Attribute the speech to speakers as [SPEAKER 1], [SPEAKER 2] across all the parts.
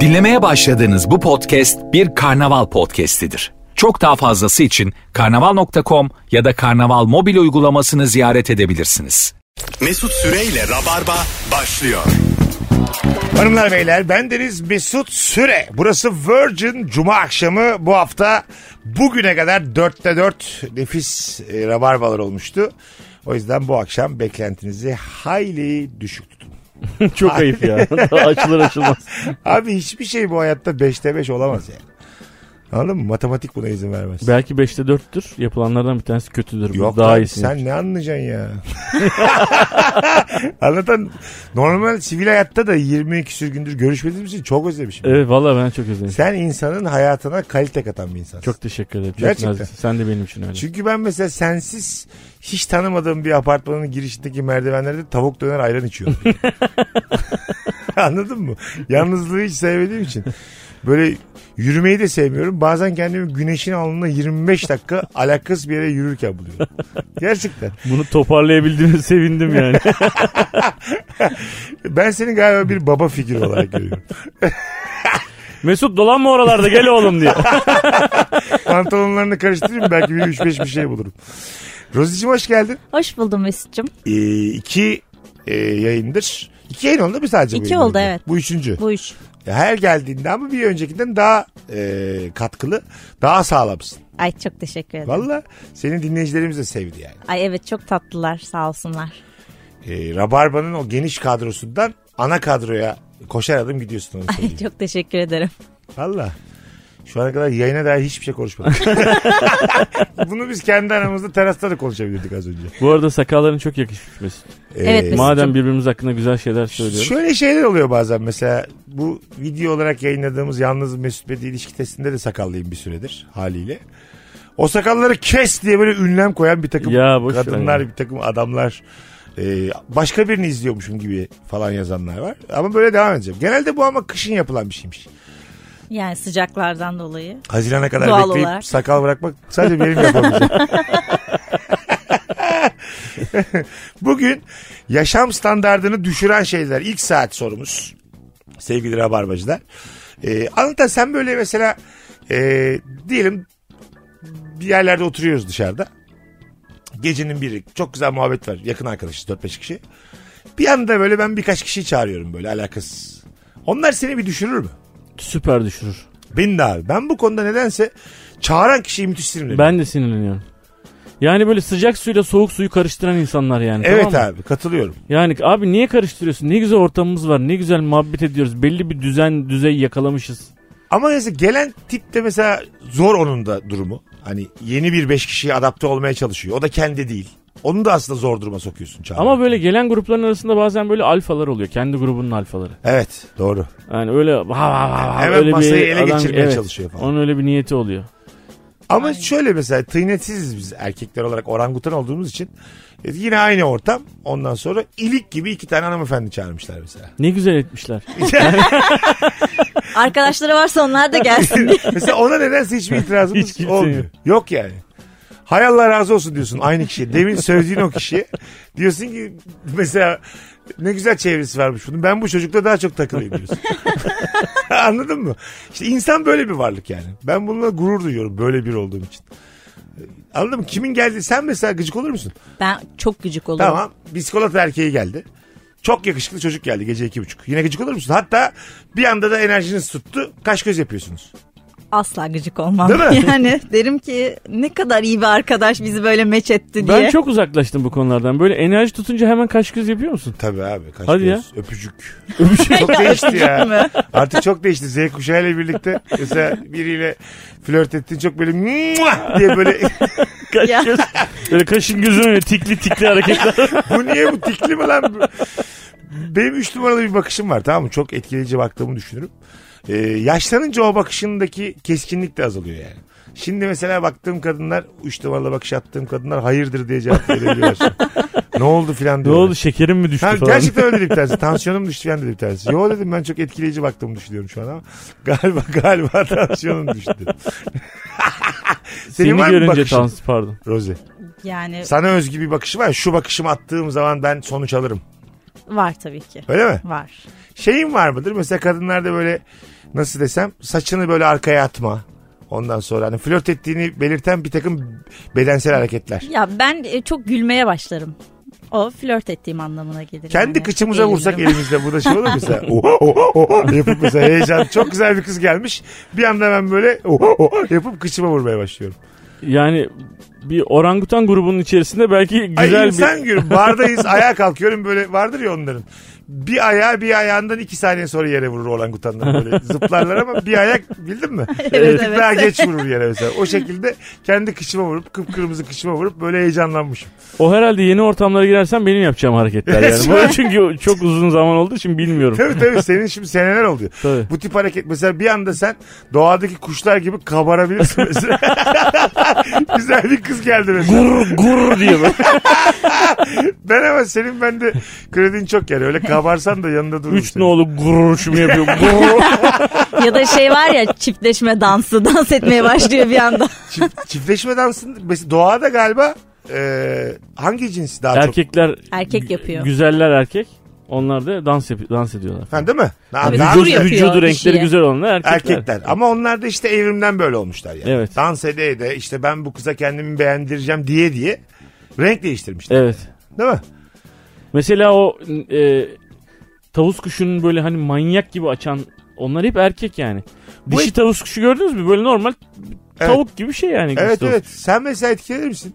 [SPEAKER 1] Dinlemeye başladığınız bu podcast bir karnaval podcastidir. Çok daha fazlası için karnaval.com ya da karnaval mobil uygulamasını ziyaret edebilirsiniz.
[SPEAKER 2] Mesut Süreyle Rabarba başlıyor.
[SPEAKER 3] Hanımlar beyler ben Deniz Mesut Süre. Burası Virgin Cuma akşamı bu hafta bugüne kadar dörtte dört nefis e, rabarbalar olmuştu. O yüzden bu akşam beklentinizi hayli düşük tutun.
[SPEAKER 4] Çok ayıp ya. Daha açılır açılmaz.
[SPEAKER 3] Abi hiçbir şey bu hayatta beşte beş olamaz yani. Anladın mı? Matematik buna izin vermez.
[SPEAKER 4] Belki 5'te 4'tür. Yapılanlardan bir tanesi kötüdür.
[SPEAKER 3] Yok
[SPEAKER 4] Daha
[SPEAKER 3] lan,
[SPEAKER 4] iyisini.
[SPEAKER 3] sen ne anlayacaksın ya? Anlatan normal sivil hayatta da 20 küsür gündür görüşmediğimiz için çok özlemişim.
[SPEAKER 4] Evet valla ben çok özledim.
[SPEAKER 3] Sen insanın hayatına kalite katan bir insansın.
[SPEAKER 4] Çok teşekkür ederim. Çok
[SPEAKER 3] Gerçekten.
[SPEAKER 4] naziksin. Sen de benim için öyle.
[SPEAKER 3] Çünkü ben mesela sensiz hiç tanımadığım bir apartmanın girişindeki merdivenlerde tavuk döner ayran içiyorum. Anladın mı? Yalnızlığı hiç sevmediğim için. Böyle yürümeyi de sevmiyorum. Bazen kendimi güneşin alnında 25 dakika alakasız bir yere yürürken buluyorum. Gerçekten.
[SPEAKER 4] Bunu toparlayabildiğime sevindim yani.
[SPEAKER 3] Ben seni galiba bir baba figürü olarak görüyorum.
[SPEAKER 4] Mesut dolanma oralarda gel oğlum diye.
[SPEAKER 3] Pantolonlarını karıştırayım belki bir 3-5 bir şey bulurum. Rozi'cim hoş geldin.
[SPEAKER 5] Hoş buldum Mesut'cum.
[SPEAKER 3] Ee, iki e, yayındır. İki yayın oldu mu sadece? bu
[SPEAKER 5] İki
[SPEAKER 3] yayın
[SPEAKER 5] oldu, evet.
[SPEAKER 3] Bu üçüncü.
[SPEAKER 5] Bu iş.
[SPEAKER 3] Her geldiğinde ama bir öncekinden daha e, katkılı, daha sağlamsın.
[SPEAKER 5] Ay çok teşekkür ederim.
[SPEAKER 3] Valla seni dinleyicilerimiz de sevdi yani.
[SPEAKER 5] Ay evet çok tatlılar sağ olsunlar.
[SPEAKER 3] E, Rabarba'nın o geniş kadrosundan ana kadroya koşar adım gidiyorsun onu
[SPEAKER 5] Ay
[SPEAKER 3] söyleyeyim.
[SPEAKER 5] çok teşekkür ederim.
[SPEAKER 3] Valla. Şu ana kadar yayına dair hiçbir şey konuşmadık. Bunu biz kendi aramızda terasta da konuşabilirdik az önce.
[SPEAKER 4] Bu arada sakalların çok yakışmış Mesut.
[SPEAKER 3] E,
[SPEAKER 5] Evet, Mesut.
[SPEAKER 4] Madem birbirimiz hakkında güzel şeyler söylüyoruz.
[SPEAKER 3] Şöyle şeyler oluyor bazen mesela bu video olarak yayınladığımız Yalnız Mesut Bey ilişki testinde de sakallıyım bir süredir haliyle. O sakalları kes diye böyle ünlem koyan bir takım
[SPEAKER 4] Ya boş ver
[SPEAKER 3] kadınlar
[SPEAKER 4] ya.
[SPEAKER 3] bir takım adamlar e, başka birini izliyormuşum gibi falan yazanlar var. Ama böyle devam edeceğim. Genelde bu ama kışın yapılan bir şeymiş.
[SPEAKER 5] Yani sıcaklardan dolayı.
[SPEAKER 3] Hazirana kadar
[SPEAKER 5] Doğal
[SPEAKER 3] bekleyip
[SPEAKER 5] olarak.
[SPEAKER 3] sakal bırakmak sadece benim yapabileceğim. Bugün yaşam standartını düşüren şeyler ilk saat sorumuz. Sevgili Rabarbacılar. Ee, Anlatan sen böyle mesela e, diyelim bir yerlerde oturuyoruz dışarıda. Gecenin biri çok güzel muhabbet var yakın arkadaşız 4-5 kişi. Bir anda böyle ben birkaç kişi çağırıyorum böyle alakasız. Onlar seni bir düşürür mü?
[SPEAKER 4] Süper düşürür.
[SPEAKER 3] Beni de abi. Ben bu konuda nedense çağıran kişiyi müthiş sinirleniyorum.
[SPEAKER 4] Ben de sinirleniyorum. Yani böyle sıcak suyla soğuk suyu karıştıran insanlar yani.
[SPEAKER 3] Evet
[SPEAKER 4] tamam mı?
[SPEAKER 3] abi katılıyorum.
[SPEAKER 4] Yani abi niye karıştırıyorsun? Ne güzel ortamımız var. Ne güzel muhabbet ediyoruz. Belli bir düzen düzey yakalamışız.
[SPEAKER 3] Ama mesela gelen tip de mesela zor onun da durumu. Hani yeni bir beş kişiye adapte olmaya çalışıyor. O da kendi değil. Onu da aslında zor duruma sokuyorsun çağıran.
[SPEAKER 4] Ama böyle gelen grupların arasında bazen böyle alfalar oluyor. Kendi grubunun alfaları.
[SPEAKER 3] Evet doğru.
[SPEAKER 4] Yani öyle ha, ha, ha, ha,
[SPEAKER 3] Hemen
[SPEAKER 4] öyle
[SPEAKER 3] masayı ele geçirmeye çalışıyor falan.
[SPEAKER 4] Onun öyle bir niyeti oluyor.
[SPEAKER 3] Ama şöyle mesela tıynetsiziz biz erkekler olarak orangutan olduğumuz için. E, Yine aynı ortam. Ondan sonra ilik gibi iki tane hanımefendi çağırmışlar mesela.
[SPEAKER 4] Ne güzel etmişler.
[SPEAKER 5] Arkadaşları varsa onlar da gelsin diye.
[SPEAKER 3] mesela ona nedense hiçbir itirazımız
[SPEAKER 4] Hiç kimse
[SPEAKER 3] olmuyor.
[SPEAKER 4] yok.
[SPEAKER 3] Yok yani. Hay Allah razı olsun diyorsun aynı kişiye. Demin söylediğin o kişiye. Diyorsun ki mesela ne güzel çevresi varmış bunun. Ben bu çocukla daha çok takılayım diyorsun. Anladın mı? İşte insan böyle bir varlık yani. Ben bununla gurur duyuyorum böyle bir olduğum için. Anladın mı? Kimin geldi? Sen mesela gıcık olur musun?
[SPEAKER 5] Ben çok gıcık olurum.
[SPEAKER 3] Tamam. Bisiklet erkeği geldi. Çok yakışıklı çocuk geldi gece iki buçuk. Yine gıcık olur musun? Hatta bir anda da enerjiniz tuttu. Kaş göz yapıyorsunuz.
[SPEAKER 5] Asla gıcık olmam.
[SPEAKER 3] Değil mi?
[SPEAKER 5] Yani derim ki ne kadar iyi bir arkadaş bizi böyle meç etti diye.
[SPEAKER 4] Ben çok uzaklaştım bu konulardan. Böyle enerji tutunca hemen kaş göz yapıyor musun?
[SPEAKER 3] Tabii abi. Kaç
[SPEAKER 4] Hadi
[SPEAKER 3] göz,
[SPEAKER 4] ya.
[SPEAKER 3] Öpücük. çok değişti ya.
[SPEAKER 5] mü?
[SPEAKER 3] Artık çok değişti. Z kuşağıyla birlikte mesela biriyle flört ettin çok böyle "Mua!" diye böyle
[SPEAKER 4] Kaş
[SPEAKER 5] Ya.
[SPEAKER 4] göz. Böyle kaşın gözün öyle tikli tikli hareketler.
[SPEAKER 3] bu niye bu tikli mi lan? Benim üç numaralı bir bakışım var tamam mı? Çok etkileyici baktığımı düşünürüm. Ee, yaşlanınca o bakışındaki keskinlik de azalıyor yani. Şimdi mesela baktığım kadınlar, üç numaralı bakış attığım kadınlar hayırdır diye cevap verebiliyorlar. ne oldu filan
[SPEAKER 4] ne
[SPEAKER 3] diyorlar.
[SPEAKER 4] oldu şekerim mi düştü
[SPEAKER 3] Ha,
[SPEAKER 4] falan.
[SPEAKER 3] gerçekten öyle dedi bir tanesi. Tansiyonum düştü falan dedi bir tanesi. Yo dedim ben çok etkileyici baktığımı düşünüyorum şu an ama galiba galiba tansiyonum düştü dedim.
[SPEAKER 4] Seni
[SPEAKER 3] Senin var mı
[SPEAKER 4] görünce
[SPEAKER 3] bakışın?
[SPEAKER 4] tans pardon.
[SPEAKER 3] Rozi.
[SPEAKER 5] Yani
[SPEAKER 3] Sana özgü bir bakışı var. Şu bakışımı attığım zaman ben sonuç alırım.
[SPEAKER 5] Var tabii ki.
[SPEAKER 3] Öyle mi?
[SPEAKER 5] Var.
[SPEAKER 3] Şeyin var mıdır? Mesela kadınlarda böyle nasıl desem saçını böyle arkaya atma. Ondan sonra hani flört ettiğini belirten bir takım bedensel hareketler.
[SPEAKER 5] Ya ben e, çok gülmeye başlarım. O flört ettiğim anlamına gelir.
[SPEAKER 3] Kendi
[SPEAKER 5] yani.
[SPEAKER 3] kıçımıza
[SPEAKER 5] Eğlenirim.
[SPEAKER 3] vursak elimizle bu da şey olur mu mesela? Oha, oha, oha yapıp mesela heyecan. Çok güzel bir kız gelmiş. Bir anda ben böyle oha, oha yapıp kıçıma vurmaya başlıyorum.
[SPEAKER 4] Yani bir orangutan grubunun içerisinde belki
[SPEAKER 3] Ay
[SPEAKER 4] güzel bir...
[SPEAKER 3] insan gibi bardayız ayağa kalkıyorum böyle vardır ya onların. Bir ayağı bir ayağından iki saniye sonra yere vurur orangutanlar böyle zıplarlar ama bir ayak bildin mi? Bir tık
[SPEAKER 5] evet.
[SPEAKER 3] Daha geç vurur yere mesela. O şekilde kendi kıçıma vurup kıpkırmızı kıçıma vurup böyle heyecanlanmışım.
[SPEAKER 4] O herhalde yeni ortamlara girersem benim yapacağım hareketler yani.
[SPEAKER 3] Resmen.
[SPEAKER 4] Böyle çünkü çok uzun zaman olduğu için bilmiyorum.
[SPEAKER 3] Tabii tabii senin şimdi seneler oldu.
[SPEAKER 4] Tabii.
[SPEAKER 3] Bu tip hareket mesela bir anda sen doğadaki kuşlar gibi kabarabilirsin mesela. Güzel bir kız geldi mesela.
[SPEAKER 4] Gur gur diye böyle.
[SPEAKER 3] Ben ama senin bende kredin çok yani öyle kabarsan da yanında durur.
[SPEAKER 4] Üç nolu gururuşumu yapıyor. Gurur.
[SPEAKER 5] Ya da şey var ya çiftleşme dansı dans etmeye başlıyor bir anda.
[SPEAKER 3] Çift- çiftleşme dansın mesela doğada galiba e, hangi cinsi daha çok?
[SPEAKER 4] Erkekler
[SPEAKER 5] Erkek yapıyor.
[SPEAKER 4] güzeller erkek. Onlar da dans yap- dans ediyorlar.
[SPEAKER 3] Ha, değil mi? Ha,
[SPEAKER 5] Tabii,
[SPEAKER 3] daha-
[SPEAKER 5] Dur yapıyor
[SPEAKER 4] vücudu renkleri
[SPEAKER 5] dişiye.
[SPEAKER 4] güzel olanlar erkekler.
[SPEAKER 3] Erkekler. Ama onlar da işte evrimden böyle olmuşlar yani.
[SPEAKER 4] Evet.
[SPEAKER 3] Dans ede ede işte ben bu kıza kendimi beğendireceğim diye diye renk değiştirmişler.
[SPEAKER 4] Evet.
[SPEAKER 3] Değil mi?
[SPEAKER 4] Mesela o e, tavus kuşunun böyle hani manyak gibi açan onlar hep erkek yani.
[SPEAKER 3] Bu
[SPEAKER 4] Dişi
[SPEAKER 3] et-
[SPEAKER 4] tavus kuşu gördünüz mü? Böyle normal tavuk gibi bir şey yani.
[SPEAKER 3] Evet
[SPEAKER 4] Gustav.
[SPEAKER 3] evet. Sen mesela etkilenir misin?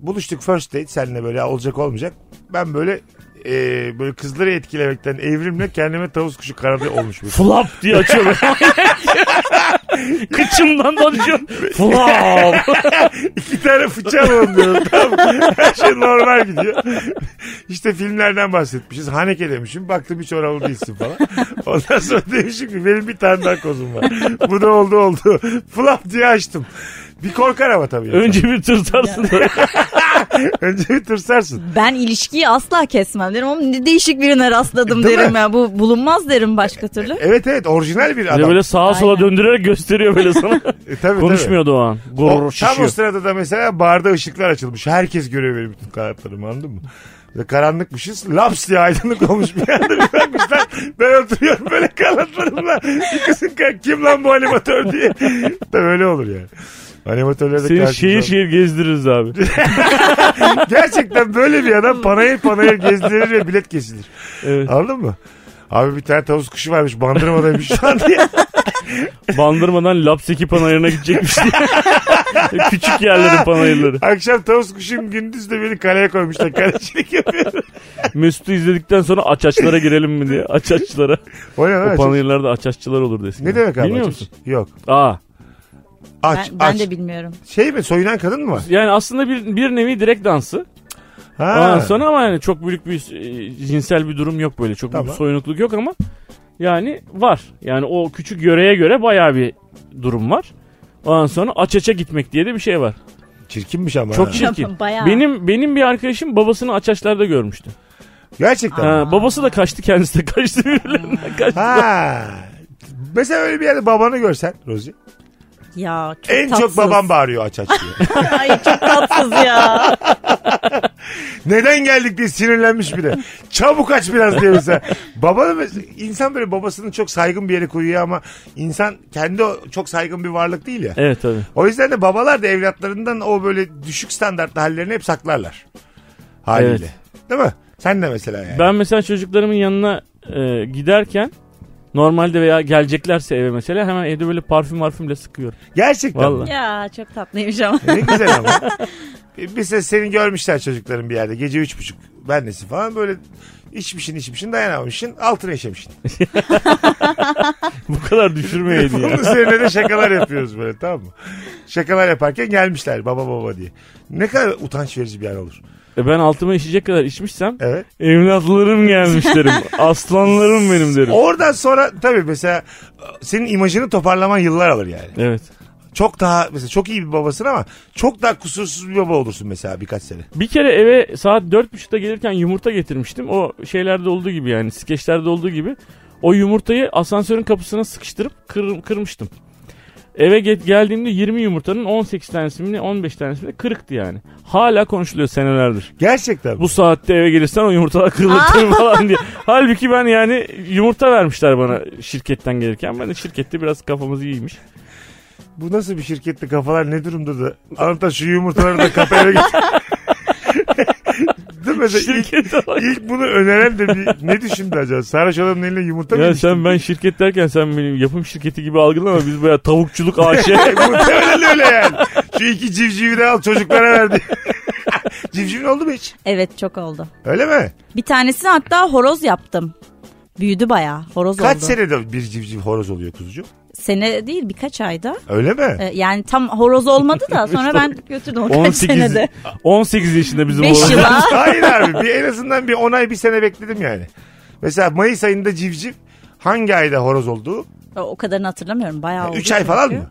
[SPEAKER 3] Buluştuk first date seninle böyle olacak olmayacak. Ben böyle e, böyle kızları etkilemekten evrimle kendime tavus kuşu kanadı olmuş. bir-
[SPEAKER 4] Flap diye açıyor. Kıçımdan dolaşıyor. Flap.
[SPEAKER 3] İki tane fıçı alalım diyorum. Tamam. Her şey normal gidiyor. İşte filmlerden bahsetmişiz. Haneke demişim. Baktım hiç oralı değilsin falan. Ondan sonra demişim ki benim bir tane daha kozum var. Bu da oldu oldu. Flap diye açtım. Bir korkar ama tabii. insan.
[SPEAKER 4] Önce bir tırtarsın.
[SPEAKER 3] Önce bir tırsarsın.
[SPEAKER 5] Ben ilişkiyi asla kesmem derim ama ne değişik birine rastladım
[SPEAKER 3] E, Değil
[SPEAKER 5] derim
[SPEAKER 3] mi? E,
[SPEAKER 5] ya. Bu bulunmaz derim başka türlü.
[SPEAKER 3] Evet evet orijinal bir
[SPEAKER 4] Ve
[SPEAKER 3] adam.
[SPEAKER 4] böyle sağa sola
[SPEAKER 5] Aynen.
[SPEAKER 4] döndürerek gösteriyor böyle sana.
[SPEAKER 3] E, tabii, tabii.
[SPEAKER 4] Konuşmuyordu o an. Gurur
[SPEAKER 3] O, tam o
[SPEAKER 4] şişiyor.
[SPEAKER 3] sırada da mesela barda ışıklar açılmış. Herkes görüyor benim bütün kanatlarımı anladın mı? Böyle karanlıkmışız. Laps diye aydınlık olmuş bir anda bir bakmışlar. Ben oturuyorum böyle kanatlarımla. Bir kızın ka- kim lan bu animatör diye. Tabii öyle olur yani. Animatörlerde
[SPEAKER 4] Seni şehir şehir gezdiririz abi.
[SPEAKER 3] Gerçekten böyle bir adam panayır panayır gezdirir ve bilet kesilir.
[SPEAKER 4] Evet.
[SPEAKER 3] Anladın mı? Abi bir tane tavus kuşu varmış bandırmadaymış şu an diye.
[SPEAKER 4] Bandırmadan Lapseki panayırına gidecekmiş diye. Küçük yerlerin panayırları.
[SPEAKER 3] Akşam tavus kuşum gündüz de beni kaleye koymuşlar. Kalecilik yapıyorum.
[SPEAKER 4] Mesut'u izledikten sonra açaçlara girelim mi diye. Açaçlara.
[SPEAKER 3] O ne lan?
[SPEAKER 4] O panayırlarda açaççılar olur desin.
[SPEAKER 3] Ne demek abi?
[SPEAKER 4] Bilmiyor
[SPEAKER 3] açık?
[SPEAKER 4] musun?
[SPEAKER 3] Yok.
[SPEAKER 4] Aa.
[SPEAKER 5] Ben,
[SPEAKER 3] Aç,
[SPEAKER 5] ben
[SPEAKER 3] aç.
[SPEAKER 5] de bilmiyorum.
[SPEAKER 3] Şey mi soyunan kadın mı var?
[SPEAKER 4] Yani aslında bir, bir nevi direkt dansı.
[SPEAKER 3] Ha.
[SPEAKER 4] Ondan sonra ama yani çok büyük bir e, cinsel bir durum yok böyle. Çok büyük
[SPEAKER 3] Tamam.
[SPEAKER 4] bir soyunukluk yok ama yani var. Yani o küçük yöreye göre bayağı bir durum var. Ondan sonra açaça gitmek diye de bir şey var.
[SPEAKER 3] Çirkinmiş ama. ha.
[SPEAKER 4] Çok çirkin.
[SPEAKER 5] Bayağı.
[SPEAKER 4] Benim benim bir arkadaşım babasını açaçlarda görmüştü.
[SPEAKER 3] Gerçekten. Ha.
[SPEAKER 4] Ha, babası da kaçtı kendisi de kaçtı birbirlerinden kaçtı.
[SPEAKER 3] Mesela öyle bir yerde babanı görsen Rozi.
[SPEAKER 5] Ya çok
[SPEAKER 3] En
[SPEAKER 5] tatsız.
[SPEAKER 3] çok babam bağırıyor aç aç diye.
[SPEAKER 5] Ay çok tatsız ya.
[SPEAKER 3] Neden geldik diye sinirlenmiş bile. Çabuk aç biraz diye mesela. Baba da insan böyle babasını çok saygın bir yere koyuyor ama insan kendi o- çok saygın bir varlık değil ya.
[SPEAKER 4] Evet tabii.
[SPEAKER 3] O yüzden de babalar da evlatlarından o böyle düşük standartlı hallerini hep saklarlar. Haliyle. Değil mi? Sen de mesela yani.
[SPEAKER 4] Ben mesela çocuklarımın yanına e, giderken normalde veya geleceklerse eve mesela hemen evde böyle parfüm marfümle sıkıyorum.
[SPEAKER 3] Gerçekten.
[SPEAKER 4] Vallahi.
[SPEAKER 5] Ya çok tatlıymış ama.
[SPEAKER 3] E, Ne güzel ama. Mesela seni görmüşler çocukların bir yerde. Gece üç buçuk. Ben nesi falan böyle içmişin içmişin dayanamamışsın. Altına işemişsin.
[SPEAKER 4] Bu kadar düşürmeyeydi
[SPEAKER 3] Bunun
[SPEAKER 4] ya.
[SPEAKER 3] üzerine de şakalar yapıyoruz böyle tamam mı? Şakalar yaparken gelmişler baba baba diye. Ne kadar utanç verici bir an olur.
[SPEAKER 4] E ben altıma işecek kadar içmişsem
[SPEAKER 3] Evet.
[SPEAKER 4] evlatlarım gelmiş derim. Aslanlarım benim derim.
[SPEAKER 3] Oradan sonra tabii mesela e, senin imajını toparlaman yıllar alır yani.
[SPEAKER 4] Evet.
[SPEAKER 3] Çok daha mesela çok iyi bir babasın ama çok daha kusursuz bir baba olursun mesela birkaç sene.
[SPEAKER 4] Bir kere eve saat dört buçukta gelirken yumurta getirmiştim. O şeylerde olduğu gibi yani skeçlerde olduğu gibi. O yumurtayı asansörün kapısına sıkıştırıp kır- kırmıştım. Eve ge- geldiğimde 20 yumurtanın 18 tanesi mi ne, 15 tanesi mi ne kırıktı yani. Hala konuşuluyor senelerdir.
[SPEAKER 3] Gerçekten. mi?
[SPEAKER 4] Bu saatte eve gelirsen o yumurtalar kırılır tabii falan diye. Halbuki ben yani yumurta vermişler bana şirketten gelirken. Ben de şirkette biraz kafamız iyiymiş.
[SPEAKER 3] Bu nasıl bir şirkette kafalar ne durumda da Anlatan şu yumurtaları da kafaya git. Değil mi? Mesela ilk,
[SPEAKER 4] Şirkette bak.
[SPEAKER 3] ilk bunu öneren de bir, ne düşündü acaba? Sarhoş adamın eline yumurta mı
[SPEAKER 4] Ya
[SPEAKER 3] ilişti?
[SPEAKER 5] şey
[SPEAKER 4] sen ben şirket derken sen benim yapım şirketi gibi algılama biz bayağı tavukçuluk AŞ.
[SPEAKER 3] E, Muhtemelen öyle yani. Şu iki civcivi de al çocuklara verdi. Civcivin oldu mu hiç?
[SPEAKER 5] Evet çok oldu.
[SPEAKER 3] Öyle mi?
[SPEAKER 5] Bir tanesini hatta horoz yaptım. Büyüdü bayağı. Horoz
[SPEAKER 3] Kaç
[SPEAKER 5] oldu.
[SPEAKER 3] senede bir civciv horoz oluyor kuzucuğum?
[SPEAKER 5] Sene değil birkaç ayda.
[SPEAKER 3] Öyle mi?
[SPEAKER 5] Ee, Yani tam horoz olmadı da sonra ben götürdüm o kaç
[SPEAKER 4] 18,
[SPEAKER 5] senede.
[SPEAKER 4] 18 yaşında bizim
[SPEAKER 5] 5
[SPEAKER 4] oğlan.
[SPEAKER 5] yıla.
[SPEAKER 3] Hayır abi bir en azından bir 10 ay bir sene bekledim yani. Mesela Mayıs ayında civciv hangi ayda horoz olduğu?
[SPEAKER 5] O kadarını hatırlamıyorum. Bayağı oldu.
[SPEAKER 3] 3 E, ay
[SPEAKER 5] çünkü.
[SPEAKER 3] falan mı?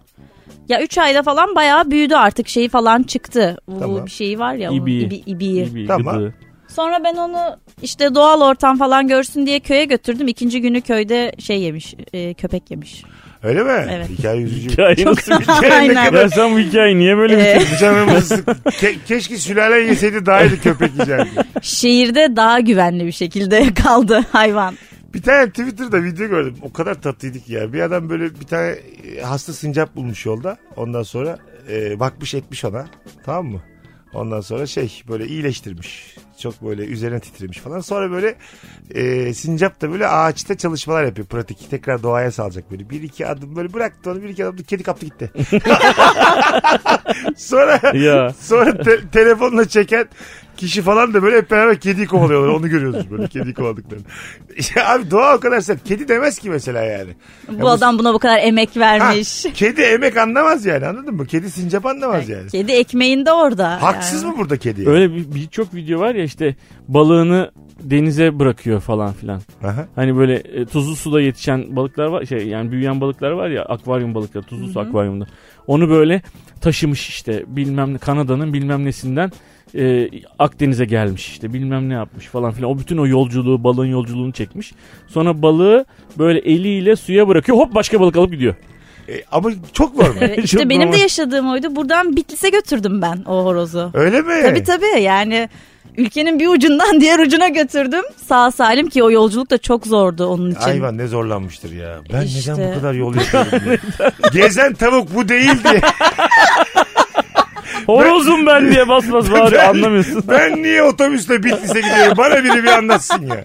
[SPEAKER 5] Ya 3 ayda falan bayağı büyüdü artık şeyi falan çıktı. Bu
[SPEAKER 3] Tamam.
[SPEAKER 5] bir şeyi var ya. onun
[SPEAKER 4] İbiği.
[SPEAKER 5] ibi- ibiği.
[SPEAKER 4] İyi bir
[SPEAKER 3] Tamam.
[SPEAKER 4] gıdı.
[SPEAKER 5] Sonra ben onu işte doğal ortam falan görsün diye köye götürdüm. İkinci günü köyde şey yemiş, e, köpek yemiş.
[SPEAKER 3] Öyle mi?
[SPEAKER 5] Evet.
[SPEAKER 3] Hikaye üzücü.
[SPEAKER 4] Hikaye nasıl bir
[SPEAKER 5] Aynen.
[SPEAKER 4] Ya sen bu hikaye niye böyle bir
[SPEAKER 5] Ee,
[SPEAKER 3] Bu canımızı sık- Ke- keşke sülalen yeseydi daha iyiydi köpek yiyeceğim.
[SPEAKER 5] E, şehirde daha güvenli bir şekilde kaldı hayvan.
[SPEAKER 3] Bir tane Twitter'da video gördüm. O kadar tatlıydı ki ya. Bir adam böyle bir tane e, hasta sincap bulmuş yolda. Ondan sonra e, bakmış etmiş ona. Tamam mı? Ondan sonra şey böyle iyileştirmiş. Çok böyle üzerine titremiş falan. Sonra böyle e, sincap da böyle ağaçta çalışmalar yapıyor. Pratik tekrar doğaya salacak böyle. Bir iki adım böyle bıraktı onu. Bir iki adım kedi kaptı gitti. sonra
[SPEAKER 4] Ya.
[SPEAKER 3] Sonra te- telefonla çeken kişi falan da böyle hep beraber kediyi kovalıyorlar. Onu görüyoruz böyle kediyi kovaladıklarını. Ya abi doğa o kadar sert. Kedi demez ki mesela yani.
[SPEAKER 5] Bu
[SPEAKER 3] Ya bu-
[SPEAKER 5] adam buna bu kadar emek
[SPEAKER 3] Ha,
[SPEAKER 5] vermiş.
[SPEAKER 3] kedi emek anlamaz yani anladın mı? Kedi sincap anlamaz yani.
[SPEAKER 5] Kedi ekmeğinde orada.
[SPEAKER 3] Haksız
[SPEAKER 5] yani.
[SPEAKER 3] mı burada kedi? yani?
[SPEAKER 4] Öyle bir- birçok video var ya işte balığını denize bırakıyor falan filan.
[SPEAKER 3] Aha.
[SPEAKER 4] Hani böyle e, tuzlu suda yetişen balıklar var şey yani büyüyen balıklar var ya akvaryum balıkları tuzlu su akvaryumda. Onu böyle taşımış işte bilmem ne Kanada'nın bilmem nesinden e, Akdeniz'e gelmiş işte bilmem ne yapmış falan filan. O bütün o yolculuğu balığın yolculuğunu çekmiş. Sonra balığı böyle eliyle suya bırakıyor hop başka balık alıp gidiyor.
[SPEAKER 3] E, ama çok var mı?
[SPEAKER 5] Evet, işte
[SPEAKER 4] Çok
[SPEAKER 5] benim de
[SPEAKER 4] normal.
[SPEAKER 5] yaşadığım oydu. Buradan Bitlis'e götürdüm ben o horozu.
[SPEAKER 3] Öyle mi?
[SPEAKER 5] Tabii tabii yani ülkenin bir ucundan diğer ucuna götürdüm. Sağ salim ki o yolculuk da çok zordu onun için.
[SPEAKER 3] Hayvan ne zorlanmıştır ya. Ben
[SPEAKER 5] İşte.
[SPEAKER 3] neden bu kadar yol yapıyorum? ya? Gezen tavuk bu değil diye.
[SPEAKER 4] Horozum ben diye bas bas bağırıyor anlamıyorsun.
[SPEAKER 3] Ben niye otobüsle Bitlis'e gidiyorum? Bana biri bir anlatsın ya.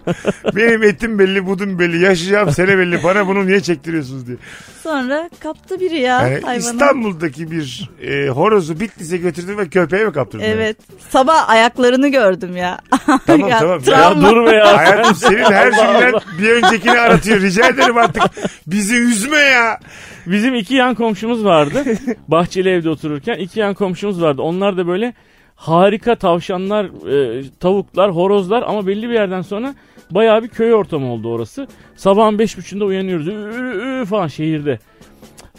[SPEAKER 3] Benim etim belli, budum belli, yaşayacağım sene belli. Bana bunu niye çektiriyorsunuz diye.
[SPEAKER 5] Sonra kaptı biri ya
[SPEAKER 3] Yani
[SPEAKER 5] hayvanı.
[SPEAKER 3] İstanbul'daki bir e, horozu Bitlis'e götürdün ve köpeğe mi kaptırdın?
[SPEAKER 5] Evet. Sabah ayaklarını gördüm ya.
[SPEAKER 3] Tamam,
[SPEAKER 5] Ya,
[SPEAKER 3] tamam.
[SPEAKER 4] Ya
[SPEAKER 5] Travma.
[SPEAKER 4] dur be ya.
[SPEAKER 3] Hayatım senin her cümlen bir öncekini aratıyor. Rica ederim artık bizi üzme ya.
[SPEAKER 4] Bizim iki yan komşumuz vardı. Bahçeli evde otururken iki yan komşumuz vardı. Onlar da böyle harika tavşanlar, e, tavuklar, horozlar ama belli bir yerden sonra bayağı bir köy ortamı oldu orası. Sabahın beş buçuğunda uyanıyoruz. Ü, ü, ü falan şehirde.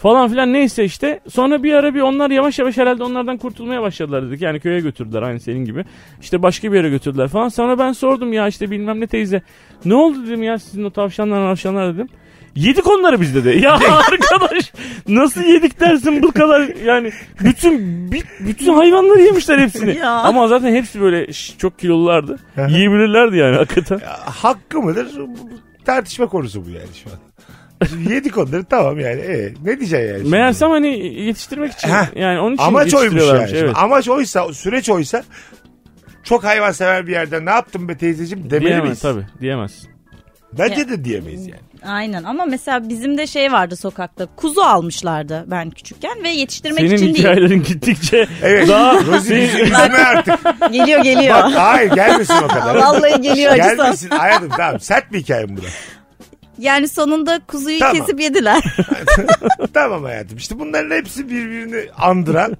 [SPEAKER 4] Falan filan neyse işte. Sonra bir ara bir onlar yavaş yavaş herhalde onlardan kurtulmaya başladılar dedik. Yani köye götürdüler aynı senin gibi. İşte başka bir yere götürdüler falan. Sonra ben sordum ya işte bilmem ne teyze. Ne oldu dedim ya sizin o tavşanlar tavşanlar dedim. Yedik onları biz dedi. Ya arkadaş nasıl yedik dersin bu kadar yani bütün bi- bütün hayvanları yemişler hepsini.
[SPEAKER 5] Ya.
[SPEAKER 4] Ama zaten hepsi böyle ş- çok kilolulardı.
[SPEAKER 3] hı.
[SPEAKER 4] Yiyebilirlerdi yani hakikaten.
[SPEAKER 3] Hakkı mıdır? Bu- bu Tartışma konusu bu yani şu an. Şimdi yedik onları tamam yani. E, ne diyeceksin yani? şimdi?
[SPEAKER 4] Meğersem hani yetiştirmek için
[SPEAKER 3] Heh.
[SPEAKER 4] yani onun için
[SPEAKER 3] Amaç oymuş yani.
[SPEAKER 4] yetiştiriyorlarmış.
[SPEAKER 3] Şimdi
[SPEAKER 4] Evet.
[SPEAKER 3] Amaç oysa, süreç oysa çok hayvansever bir yerden ne yaptın be teyzeciğim demeli
[SPEAKER 4] Diyemez
[SPEAKER 3] miyiz?
[SPEAKER 4] tabii diyemez.
[SPEAKER 3] Bence de diyemeyiz yani.
[SPEAKER 5] Aynen ama mesela bizim de şey vardı sokakta. Kuzu almışlardı ben küçükken ve yetiştirmek
[SPEAKER 4] Senin
[SPEAKER 5] için değil.
[SPEAKER 4] hikayelerin gittikçe
[SPEAKER 3] Evet.
[SPEAKER 4] daha
[SPEAKER 3] Rozi bizi
[SPEAKER 4] Senin-
[SPEAKER 3] üzme artık.
[SPEAKER 5] Geliyor geliyor.
[SPEAKER 3] Bak hayır gelmesin o kadar.
[SPEAKER 5] Vallahi geliyor acısı.
[SPEAKER 3] gelmesin hayatım tamam sert bir hikaye bu da.
[SPEAKER 5] Yani sonunda kuzuyu
[SPEAKER 3] Tamam.
[SPEAKER 5] kesip yediler.
[SPEAKER 3] Tamam hayatım işte bunların hepsi birbirini andıran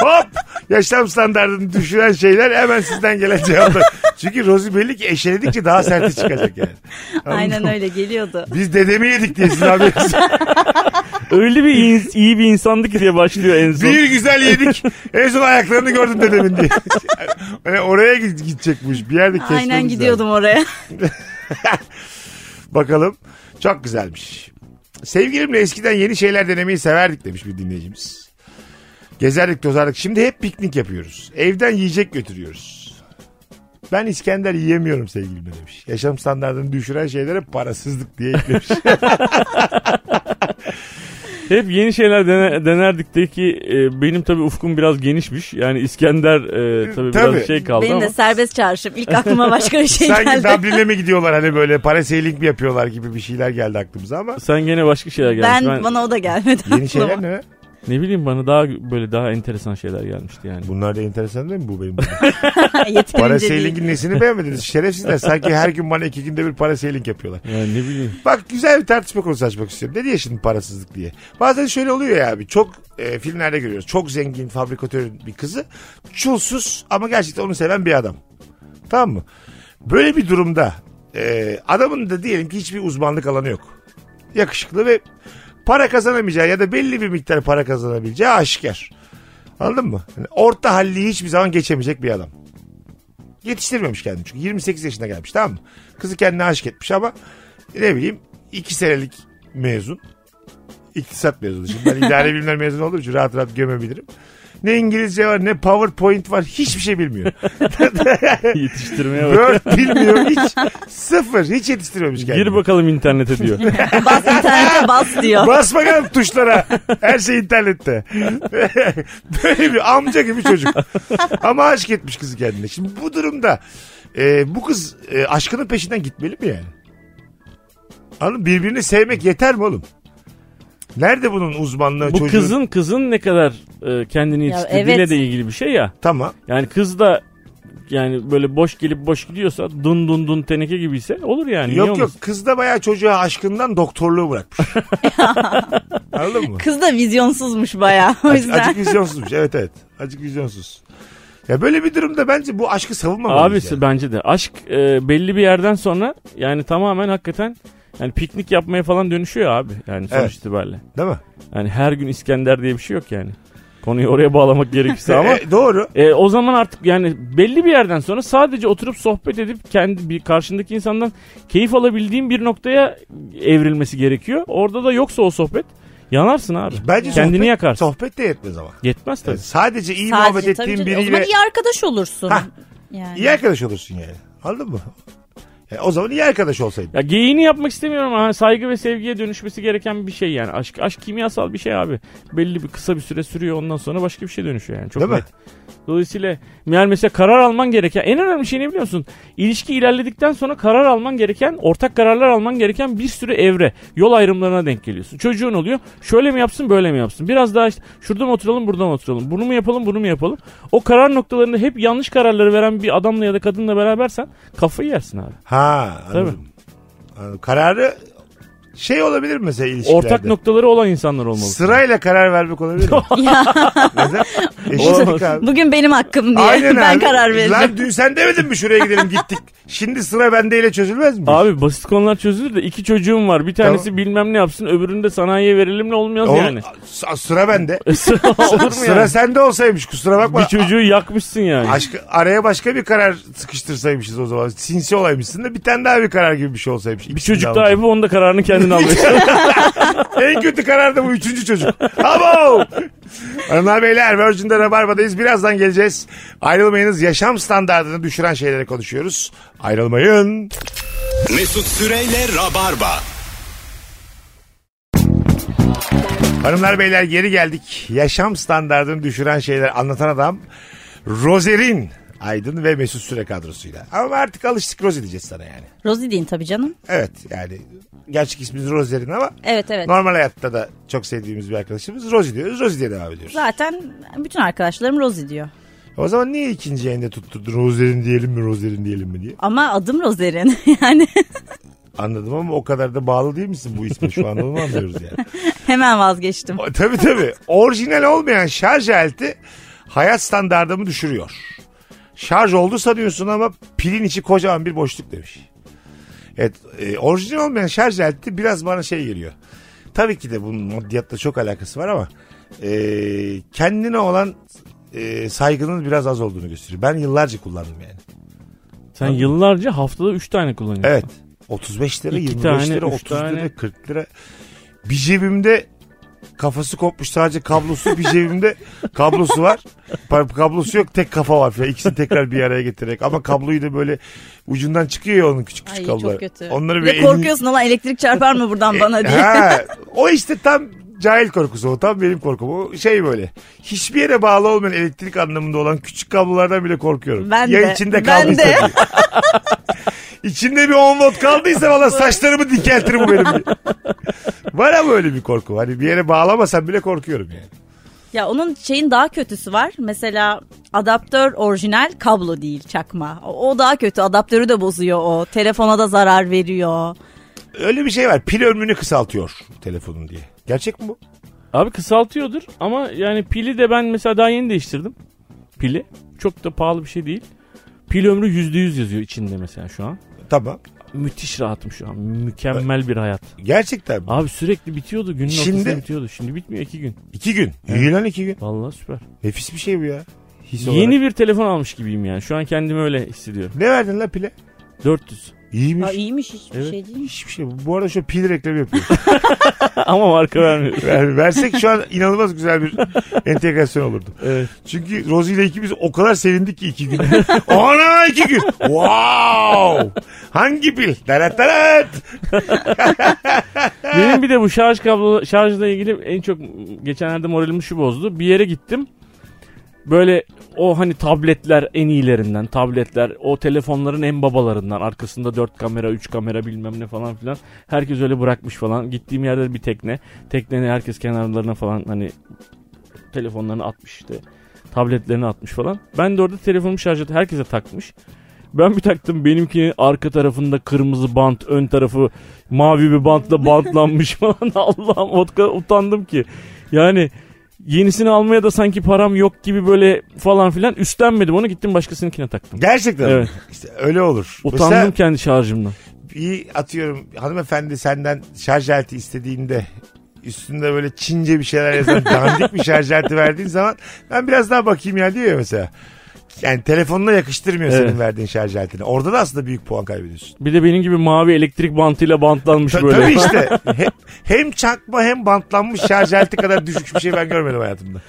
[SPEAKER 3] hop yaşam standartını düşüren şeyler hemen sizden gelen cevaplar. Çünkü Rozi belli ki eşeledikçe daha serti çıkacak yani.
[SPEAKER 5] Aynen öyle geliyordu.
[SPEAKER 3] Biz dedemi yedik diye sizin haberiniz yok.
[SPEAKER 4] öyle bir in- iyi bir insandı ki diye başlıyor en son.
[SPEAKER 3] Bir güzel yedik. En son ayaklarını gördüm dedemin diye. Yani oraya gid- gidecek bu iş. Bir yerde kesmemiz
[SPEAKER 5] Aynen
[SPEAKER 3] lazım.
[SPEAKER 5] gidiyordum oraya.
[SPEAKER 3] Bakalım. Çok güzelmiş. Sevgilimle eskiden yeni şeyler denemeyi severdik demiş bir dinleyicimiz. Gezerdik tozardık. Şimdi hep piknik yapıyoruz. Evden yiyecek götürüyoruz. Ben İskender yiyemiyorum sevgilimle demiş. Yaşam standartını düşüren şeylere parasızlık diye eklemiş.
[SPEAKER 4] Hep yeni şeyler dene- denerdik de ki e, benim tabii ufkum biraz genişmiş. Yani İskender e, tabii,
[SPEAKER 3] Tabii.
[SPEAKER 4] biraz şey kaldı
[SPEAKER 5] Benim
[SPEAKER 4] ama.
[SPEAKER 5] de serbest çarşım. İlk aklıma başka bir şey
[SPEAKER 3] Sanki
[SPEAKER 5] geldi.
[SPEAKER 3] Dublin'e mi gidiyorlar hani böyle para sailing mi yapıyorlar gibi bir şeyler geldi aklımıza ama
[SPEAKER 4] Sen gene başka şeyler gelmiş.
[SPEAKER 5] Ben,
[SPEAKER 4] Ben,
[SPEAKER 5] bana o da gelmedi. aklıma.
[SPEAKER 3] yeni şeyler ne?
[SPEAKER 4] ne bileyim bana daha böyle daha enteresan şeyler gelmişti yani.
[SPEAKER 3] Bunlar da enteresan değil mi bu benim? para
[SPEAKER 5] Yeterince değil.
[SPEAKER 3] sailing'in nesini beğenmediniz? Şerefsizler. Sanki her gün bana iki günde bir para sailing yapıyorlar.
[SPEAKER 4] Yani ne bileyim.
[SPEAKER 3] Bak güzel bir tartışma konusu açmak istiyorum. Ne diye şimdi parasızlık diye. Bazen şöyle oluyor ya abi. Çok e, filmlerde görüyoruz. Çok zengin fabrikatörün bir kızı. Çulsuz ama gerçekten onu seven bir adam. Tamam mı? Böyle bir durumda e, adamın da diyelim ki hiçbir uzmanlık alanı yok. Yakışıklı ve para kazanamayacağı ya da belli bir miktar para kazanabileceği aşikar. Anladın mı? Yani orta halli hiçbir zaman geçemeyecek bir adam. Yetiştirmemiş kendini çünkü 28 yaşına gelmiş tamam mı? Kızı kendine aşık etmiş ama ne bileyim 2 senelik mezun. İktisat mezunu. Şimdi ben idare bilimler mezunu olduğum için rahat rahat gömebilirim. Ne İngilizce var ne PowerPoint var hiçbir şey bilmiyor.
[SPEAKER 4] Yetiştirmeye bak.
[SPEAKER 3] Word bilmiyor hiç. Sıfır hiç yetiştirmemiş kendini.
[SPEAKER 4] Gir bakalım internete diyor.
[SPEAKER 5] Bas internete bas diyor.
[SPEAKER 3] Bas bakalım tuşlara. Her şey internette. Böyle bir amca gibi çocuk. Ama aşık etmiş kızı kendine. Şimdi bu durumda e, bu kız e, aşkının peşinden gitmeli mi yani? Anladın mı? Birbirini sevmek yeter mi oğlum? Nerede bunun uzmanlığı
[SPEAKER 4] Bu
[SPEAKER 3] çocuğun?
[SPEAKER 4] kızın kızın ne kadar e, kendini
[SPEAKER 5] Ya
[SPEAKER 4] yetiştirdiğiyle
[SPEAKER 5] evet.
[SPEAKER 4] de ilgili bir şey ya.
[SPEAKER 3] Tamam.
[SPEAKER 4] Yani kız da yani böyle boş gelip boş gidiyorsa dun dun dun teneke gibiyse olur yani. Niye
[SPEAKER 3] Yok yok
[SPEAKER 4] olmasın?
[SPEAKER 3] kız da bayağı çocuğa aşkından doktorluğu bırakmış. Anladın mı?
[SPEAKER 5] Kız da vizyonsuzmuş bayağı. O
[SPEAKER 3] Acık,
[SPEAKER 5] yüzden.
[SPEAKER 3] acık vizyonsuzmuş evet evet. Acık vizyonsuz. Ya böyle bir durumda bence bu aşkı savunmamalıyız.
[SPEAKER 4] Abi
[SPEAKER 3] yani.
[SPEAKER 4] bence de aşk e, belli bir yerden sonra yani tamamen hakikaten yani piknik yapmaya falan dönüşüyor abi yani sonuç
[SPEAKER 3] Evet.
[SPEAKER 4] itibariyle.
[SPEAKER 3] Değil mi?
[SPEAKER 4] Yani her gün İskender diye bir şey yok yani. Konuyu oraya bağlamak gerekirse ama
[SPEAKER 3] E, doğru.
[SPEAKER 4] e, o zaman artık yani belli bir yerden sonra sadece oturup sohbet edip kendi bir karşındaki insandan keyif alabildiğin bir noktaya evrilmesi gerekiyor. Orada da yoksa o sohbet yanarsın abi.
[SPEAKER 3] Bence
[SPEAKER 4] Kendini
[SPEAKER 3] sohbet,
[SPEAKER 4] yakarsın.
[SPEAKER 3] Sohbet de yetmez ama.
[SPEAKER 4] Yetmez tabii.
[SPEAKER 3] Yani sadece iyi
[SPEAKER 5] Sadece
[SPEAKER 3] muhabbet
[SPEAKER 5] tabii
[SPEAKER 3] ettiğin
[SPEAKER 5] canım. O
[SPEAKER 3] biriyle
[SPEAKER 5] zaman iyi arkadaş olursun.
[SPEAKER 3] Hah.
[SPEAKER 5] Yani.
[SPEAKER 3] iyi arkadaş olursun yani. Anladın mı? Yani o zaman iyi arkadaş olsaydın.
[SPEAKER 4] Ya geyiğini yapmak istemiyorum ama hani saygı ve sevgiye dönüşmesi gereken bir şey yani. Aşk aşk kimyasal bir şey abi. Belli bir kısa bir süre sürüyor ondan sonra başka bir şey dönüşüyor yani. Çok
[SPEAKER 3] Değil mi?
[SPEAKER 4] net. Dolayısıyla yani mesela karar alman gereken en önemli şey ne biliyor musun? İlişki ilerledikten sonra karar alman gereken, ortak kararlar alman gereken bir sürü evre, yol ayrımlarına denk geliyorsun. Çocuğun oluyor. Şöyle mi yapsın, böyle mi yapsın? Biraz daha işte şuradan oturalım, buradan oturalım. Bunu mu yapalım, bunu mu yapalım? O karar noktalarında hep yanlış kararları veren bir adamla ya da kadınla berabersen kafayı yersin abi.
[SPEAKER 3] Ha
[SPEAKER 4] Tabii.
[SPEAKER 3] anladım. Anladım. Kararı şey olabilir mi mesela ilişkilerde?
[SPEAKER 4] Ortak noktaları olan insanlar olmalı.
[SPEAKER 3] Sırayla karar vermek olabilir mi? Neden? Eşitlik
[SPEAKER 4] Olamaz.
[SPEAKER 3] abi.
[SPEAKER 5] Bugün benim hakkım diye
[SPEAKER 3] Aynen
[SPEAKER 5] ben
[SPEAKER 3] abi.
[SPEAKER 5] karar veririm.
[SPEAKER 3] Lan dün sen demedin mi şuraya gidelim gittik. Şimdi sıra bendeyle çözülmez mi?
[SPEAKER 4] Abi basit konular çözülür de iki çocuğum var. Bir tanesi bilmem ne yapsın, öbürünü de sanayiye verelim ne olmuyor
[SPEAKER 3] Oğlum,
[SPEAKER 4] yani.
[SPEAKER 3] s- Sıra bende.
[SPEAKER 4] Olur mu
[SPEAKER 3] sıra
[SPEAKER 4] yani?
[SPEAKER 3] sende olsaymış kusura bakma.
[SPEAKER 4] Bir çocuğu yakmışsın yani.
[SPEAKER 3] Aşk, araya başka bir karar sıkıştırsaymışız o zaman. Sinsi olaymışsın da bir tane daha bir karar gibi bir şey olsaymış.
[SPEAKER 4] Bir çocuk daha yapıp onun da kararını kendin alıyorsun.
[SPEAKER 3] En kötü karar da bu üçüncü çocuk. Abo! Hanımlar beyler Virgin'de Rabarba'dayız. Birazdan geleceğiz. Ayrılmayınız. Yaşam standartını düşüren şeylere konuşuyoruz. Ayrılmayın.
[SPEAKER 2] Mesut Süreyle Rabarba.
[SPEAKER 3] Hanımlar beyler geri geldik. Yaşam standartını düşüren şeyler anlatan adam Rozerin Aydın ve Mesut Süre kadrosuyla. Ama artık alıştık Roz edeceğiz sana yani.
[SPEAKER 5] Rosie deyin tabii canım.
[SPEAKER 3] Evet yani gerçek ismimiz Rozerin ama
[SPEAKER 5] Evet evet.
[SPEAKER 3] Normal hayatta da çok sevdiğimiz bir arkadaşımız Rozi diyoruz. Rozi diye devam ediyoruz.
[SPEAKER 5] Zaten bütün arkadaşlarım Rosie diyor.
[SPEAKER 3] O zaman niye ikinci yayında tutturdun Rozerin diyelim mi Rozerin diyelim mi diye.
[SPEAKER 5] Ama adım Roserin yani
[SPEAKER 3] Anladım ama o kadar da bağlı değil misin bu isme şu anda onu anlıyoruz yani.
[SPEAKER 5] hemen vazgeçtim.
[SPEAKER 3] O- tabii tabii. Orijinal olmayan şarj aleti hayat standartımı düşürüyor. Şarj oldu sanıyorsun ama pilin içi kocaman bir boşluk demiş. Evet e, orijinal olmayan şarj aleti biraz bana şey geliyor. Tabii ki de bunun maddiyatla çok alakası var ama e, kendine olan e, saygının biraz az olduğunu gösteriyor. Ben yıllarca kullandım yani.
[SPEAKER 4] Sen yıllarca haftada 3 tane kullanıyorsun.
[SPEAKER 3] Evet. 35 lira,
[SPEAKER 4] İki
[SPEAKER 3] 25
[SPEAKER 4] tane,
[SPEAKER 3] lira,
[SPEAKER 4] üç
[SPEAKER 3] 30
[SPEAKER 4] tane.
[SPEAKER 3] lira, 40 lira. Bir cebimde kafası kopmuş sadece kablosu bir cebimde kablosu var. Pa- Kablosu yok tek kafa var falan. İkisini tekrar bir araya getirerek ama kabloyu da böyle ucundan çıkıyor ya onun küçük küçük
[SPEAKER 5] Ay
[SPEAKER 3] kabloları.
[SPEAKER 5] çok kötü.
[SPEAKER 3] Onları bir
[SPEAKER 5] Bir de
[SPEAKER 3] elin-
[SPEAKER 5] korkuyorsun lan elektrik çarpar mı buradan bana diye.
[SPEAKER 3] Ha, o işte tam cahil korkusu o tam benim korkum. O şey böyle hiçbir yere bağlı olmayan elektrik anlamında olan küçük kablolardan bile korkuyorum.
[SPEAKER 5] Ben
[SPEAKER 3] ya
[SPEAKER 5] de,
[SPEAKER 3] içinde
[SPEAKER 5] ben
[SPEAKER 3] kaldıysa.
[SPEAKER 5] de.
[SPEAKER 3] diye. İçinde bir 10 volt kaldıysa valla saçlarımı dikeltir bu benim. diye. Var ama öyle bir korku. Hani bir yere bağlamasam bile korkuyorum yani.
[SPEAKER 5] Ya onun şeyin daha kötüsü var. Mesela adaptör orijinal kablo değil çakma. O o daha kötü. Adaptörü de bozuyor o. Telefona da zarar veriyor.
[SPEAKER 3] Öyle bir şey var. Pil ömrünü kısaltıyor telefonun diye. Gerçek mi bu?
[SPEAKER 4] Abi kısaltıyordur ama yani pili de ben mesela daha yeni değiştirdim. Pili. Çok da pahalı bir şey değil. Pil ömrü %100 yazıyor içinde mesela şu an.
[SPEAKER 3] Tamam.
[SPEAKER 4] Müthiş rahatım şu an. Mükemmel bir hayat.
[SPEAKER 3] Gerçekten mi?
[SPEAKER 4] Abi sürekli bitiyordu. Günün
[SPEAKER 3] Şimdi-
[SPEAKER 4] ortasında bitiyordu. Şimdi bitmiyor iki gün.
[SPEAKER 3] İki gün. İyi lan iki gün.
[SPEAKER 4] Vallahi süper.
[SPEAKER 3] Nefis bir şey bu ya. His olarak.
[SPEAKER 4] Yeni bir telefon almış gibiyim yani. Şu an kendimi öyle hissediyorum.
[SPEAKER 3] Ne verdin lan pile?
[SPEAKER 4] 400.
[SPEAKER 3] İyiymiş.
[SPEAKER 5] Ya iyiymiş hiçbir
[SPEAKER 4] Evet.
[SPEAKER 5] şey değilmiş.
[SPEAKER 3] Hiçbir şey. Bu arada şu pil reklamı yapıyor.
[SPEAKER 4] ama marka vermiyor.
[SPEAKER 3] Ver- versek şu an inanılmaz güzel bir entegrasyon olurdu.
[SPEAKER 4] Evet.
[SPEAKER 3] Çünkü Rozi ile ikimiz o kadar sevindik ki iki gün. Ana iki gün. Wow. Hangi pil? Darat darat.
[SPEAKER 4] Benim bir de bu şarj kablo şarjla ilgili en çok geçenlerde moralimi şu bozdu. Bir yere gittim. Böyle o hani tabletler en iyilerinden, tabletler o telefonların en babalarından. Arkasında 4 kamera, 3 kamera bilmem ne falan filan. Herkes öyle bırakmış falan. Gittiğim yerde bir tekne. Tekneni herkes kenarlarına falan hani telefonlarını atmış işte. Tabletlerini atmış falan. Ben de orada telefonumu şarj et herkese takmış. Ben bir taktım benimkinin arka tarafında kırmızı bant, ön tarafı mavi bir bantla bantlanmış falan. Allah'ım o kadar utandım ki. Yani yenisini almaya da sanki param yok gibi böyle falan filan üstlenmedim. Onu gittim başkasınınkine taktım.
[SPEAKER 3] Gerçekten.
[SPEAKER 4] Evet.
[SPEAKER 3] İşte öyle olur.
[SPEAKER 4] Utandım
[SPEAKER 3] Mesela
[SPEAKER 4] kendi şarjımdan.
[SPEAKER 3] bir atıyorum hanımefendi senden şarj aleti istediğinde üstünde böyle Çince bir şeyler yazan dandik bir şarj aleti verdiğin zaman ben biraz daha bakayım ya diyor ya mesela. Yani telefonuna yakıştırmıyor senin
[SPEAKER 4] Evet.
[SPEAKER 3] verdiğin şarj aletini. Orada da aslında büyük puan kaybediyorsun.
[SPEAKER 4] Bir de benim gibi mavi elektrik bantıyla bantlanmış
[SPEAKER 3] Ta-
[SPEAKER 4] böyle.
[SPEAKER 3] Tabii işte. He- hem çakma hem bantlanmış şarj aleti kadar düşük bir şey ben görmedim hayatımda.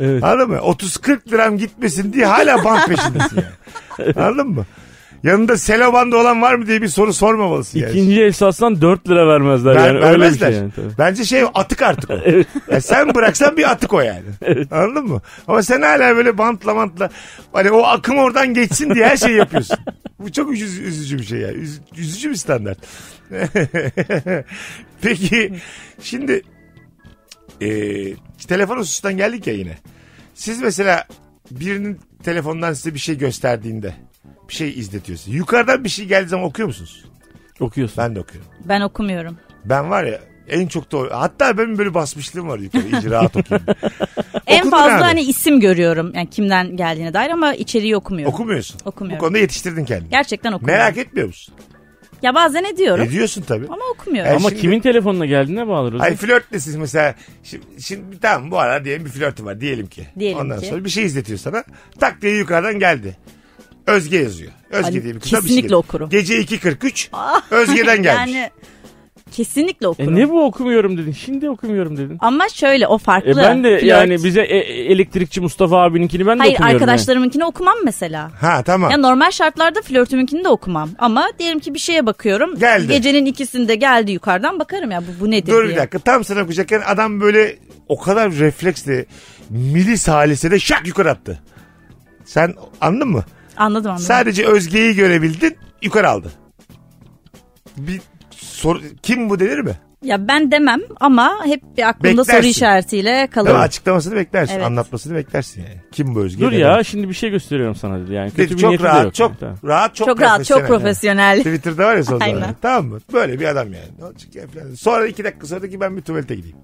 [SPEAKER 4] Evet.
[SPEAKER 3] Anladın mı? 30-40 liram gitmesin diye hala bant peşindesin yani. Anladın mı? Yanında selo bandı olan var mı diye bir soru sormamalısın yani.
[SPEAKER 4] İkinci el satsan 4 lira vermezler
[SPEAKER 3] Ver-
[SPEAKER 4] yani. Öyle bir
[SPEAKER 3] vermezler.
[SPEAKER 4] şey yani. tabii.
[SPEAKER 3] Bence şey atık artık o. Ya sen bıraksan bir atık o yani. Anladın mı? Ama sen hala böyle bantla bantla hani o akım oradan geçsin diye her şeyi yapıyorsun. Bu çok üzü- üzücü bir şey ya. Üz- üzücü bir standart. Peki şimdi e, telefon hususundan geldik ya yine. Siz mesela birinin telefondan size bir şey gösterdiğinde bir şey izletiyorsun. Yukarıdan bir şey geldiği zaman okuyor musunuz?
[SPEAKER 4] Okuyorsun.
[SPEAKER 3] Ben de okuyorum.
[SPEAKER 5] Ben okumuyorum.
[SPEAKER 3] Ben var ya en çok da o- hatta benim böyle basmışlığım var yukarı iyice rahat okuyayım. diye.
[SPEAKER 5] en
[SPEAKER 3] Okudun
[SPEAKER 5] fazla
[SPEAKER 3] abi.
[SPEAKER 5] hani isim görüyorum. Yani kimden geldiğine dair ama içeriği okumuyorum.
[SPEAKER 3] Okumuyorsun.
[SPEAKER 5] Okumuyorum.
[SPEAKER 3] Bu konuda yetiştirdin kendini.
[SPEAKER 5] Gerçekten okumuyorum.
[SPEAKER 3] Merak etmiyor musun?
[SPEAKER 5] Ya bazen ediyorum
[SPEAKER 3] Ediyorsun tabii.
[SPEAKER 5] ama okumuyorum.
[SPEAKER 4] Ama
[SPEAKER 3] E şimdi-
[SPEAKER 4] kimin telefonuna geldiğine bağlı. Rozi.
[SPEAKER 3] Ay flörtle siz mesela şimdi, şimdi tamam bu ara diyelim bir flörtü var diyelim ki.
[SPEAKER 5] Diyelim
[SPEAKER 3] Ondan
[SPEAKER 5] ki.
[SPEAKER 3] sonra bir şey izletiyor sana. Tak diye yukarıdan geldi. Özge yazıyor. Özge
[SPEAKER 5] Ay,
[SPEAKER 3] diye bir kıza bir şey
[SPEAKER 5] kesinlikle
[SPEAKER 3] geliyor.
[SPEAKER 5] okurum. Ah,
[SPEAKER 3] Gece 2.43 Özge'den gelmiş.
[SPEAKER 5] Yani kesinlikle okurum.
[SPEAKER 4] E ne bu okumuyorum dedin. Şimdi okumuyorum dedin.
[SPEAKER 5] Ama şöyle o farklı.
[SPEAKER 4] E ben de
[SPEAKER 5] Flört.
[SPEAKER 4] yani bize e- e- elektrikçi Mustafa abininkini ben de
[SPEAKER 5] Hayır
[SPEAKER 4] okumuyorum.
[SPEAKER 5] arkadaşlarımınkini okumam mesela.
[SPEAKER 3] Ha tamam.
[SPEAKER 5] Ya normal şartlarda flörtümünkini de okumam. Ama diyelim ki bir şeye bakıyorum.
[SPEAKER 3] Geldi.
[SPEAKER 5] Gecenin ikisinde geldi yukarıdan bakarım ya bu, bu nedir
[SPEAKER 3] Dur
[SPEAKER 5] diye.
[SPEAKER 3] bir dakika tam sana okuyacakken adam böyle o kadar refleksle milis halisede şak yukarı attı. Sen anladın mı?
[SPEAKER 5] Anladım anladım.
[SPEAKER 3] Sadece Özge'yi görebildin yukarı aldı. Bir sor, kim bu denir mi?
[SPEAKER 5] Ya ben demem ama hep bir aklımda
[SPEAKER 3] Beklersin.
[SPEAKER 5] soru işaretiyle kalır.
[SPEAKER 3] Değil mi? Açıklamasını beklersin.
[SPEAKER 5] Evet.
[SPEAKER 3] Anlatmasını beklersin yani. Kim bu Özge?
[SPEAKER 4] Dur
[SPEAKER 3] neden?
[SPEAKER 4] ya şimdi bir şey gösteriyorum sana dedi. Yani
[SPEAKER 3] Dedi,
[SPEAKER 4] kötü bir
[SPEAKER 3] çok
[SPEAKER 4] niyeti de
[SPEAKER 3] rahat,
[SPEAKER 4] yok.
[SPEAKER 3] çok,
[SPEAKER 4] yani, tamam.
[SPEAKER 3] rahat, çok
[SPEAKER 5] çok rahat, çok
[SPEAKER 3] profesyonel.
[SPEAKER 5] profesyonel.
[SPEAKER 3] Twitter'da var ya son
[SPEAKER 5] Aynen.
[SPEAKER 3] zamanlarda. Tamam mı? Böyle bir adam yani. Ne olacak ya falan. Sonra iki dakika sonra da ki ben bir tuvalete gideyim.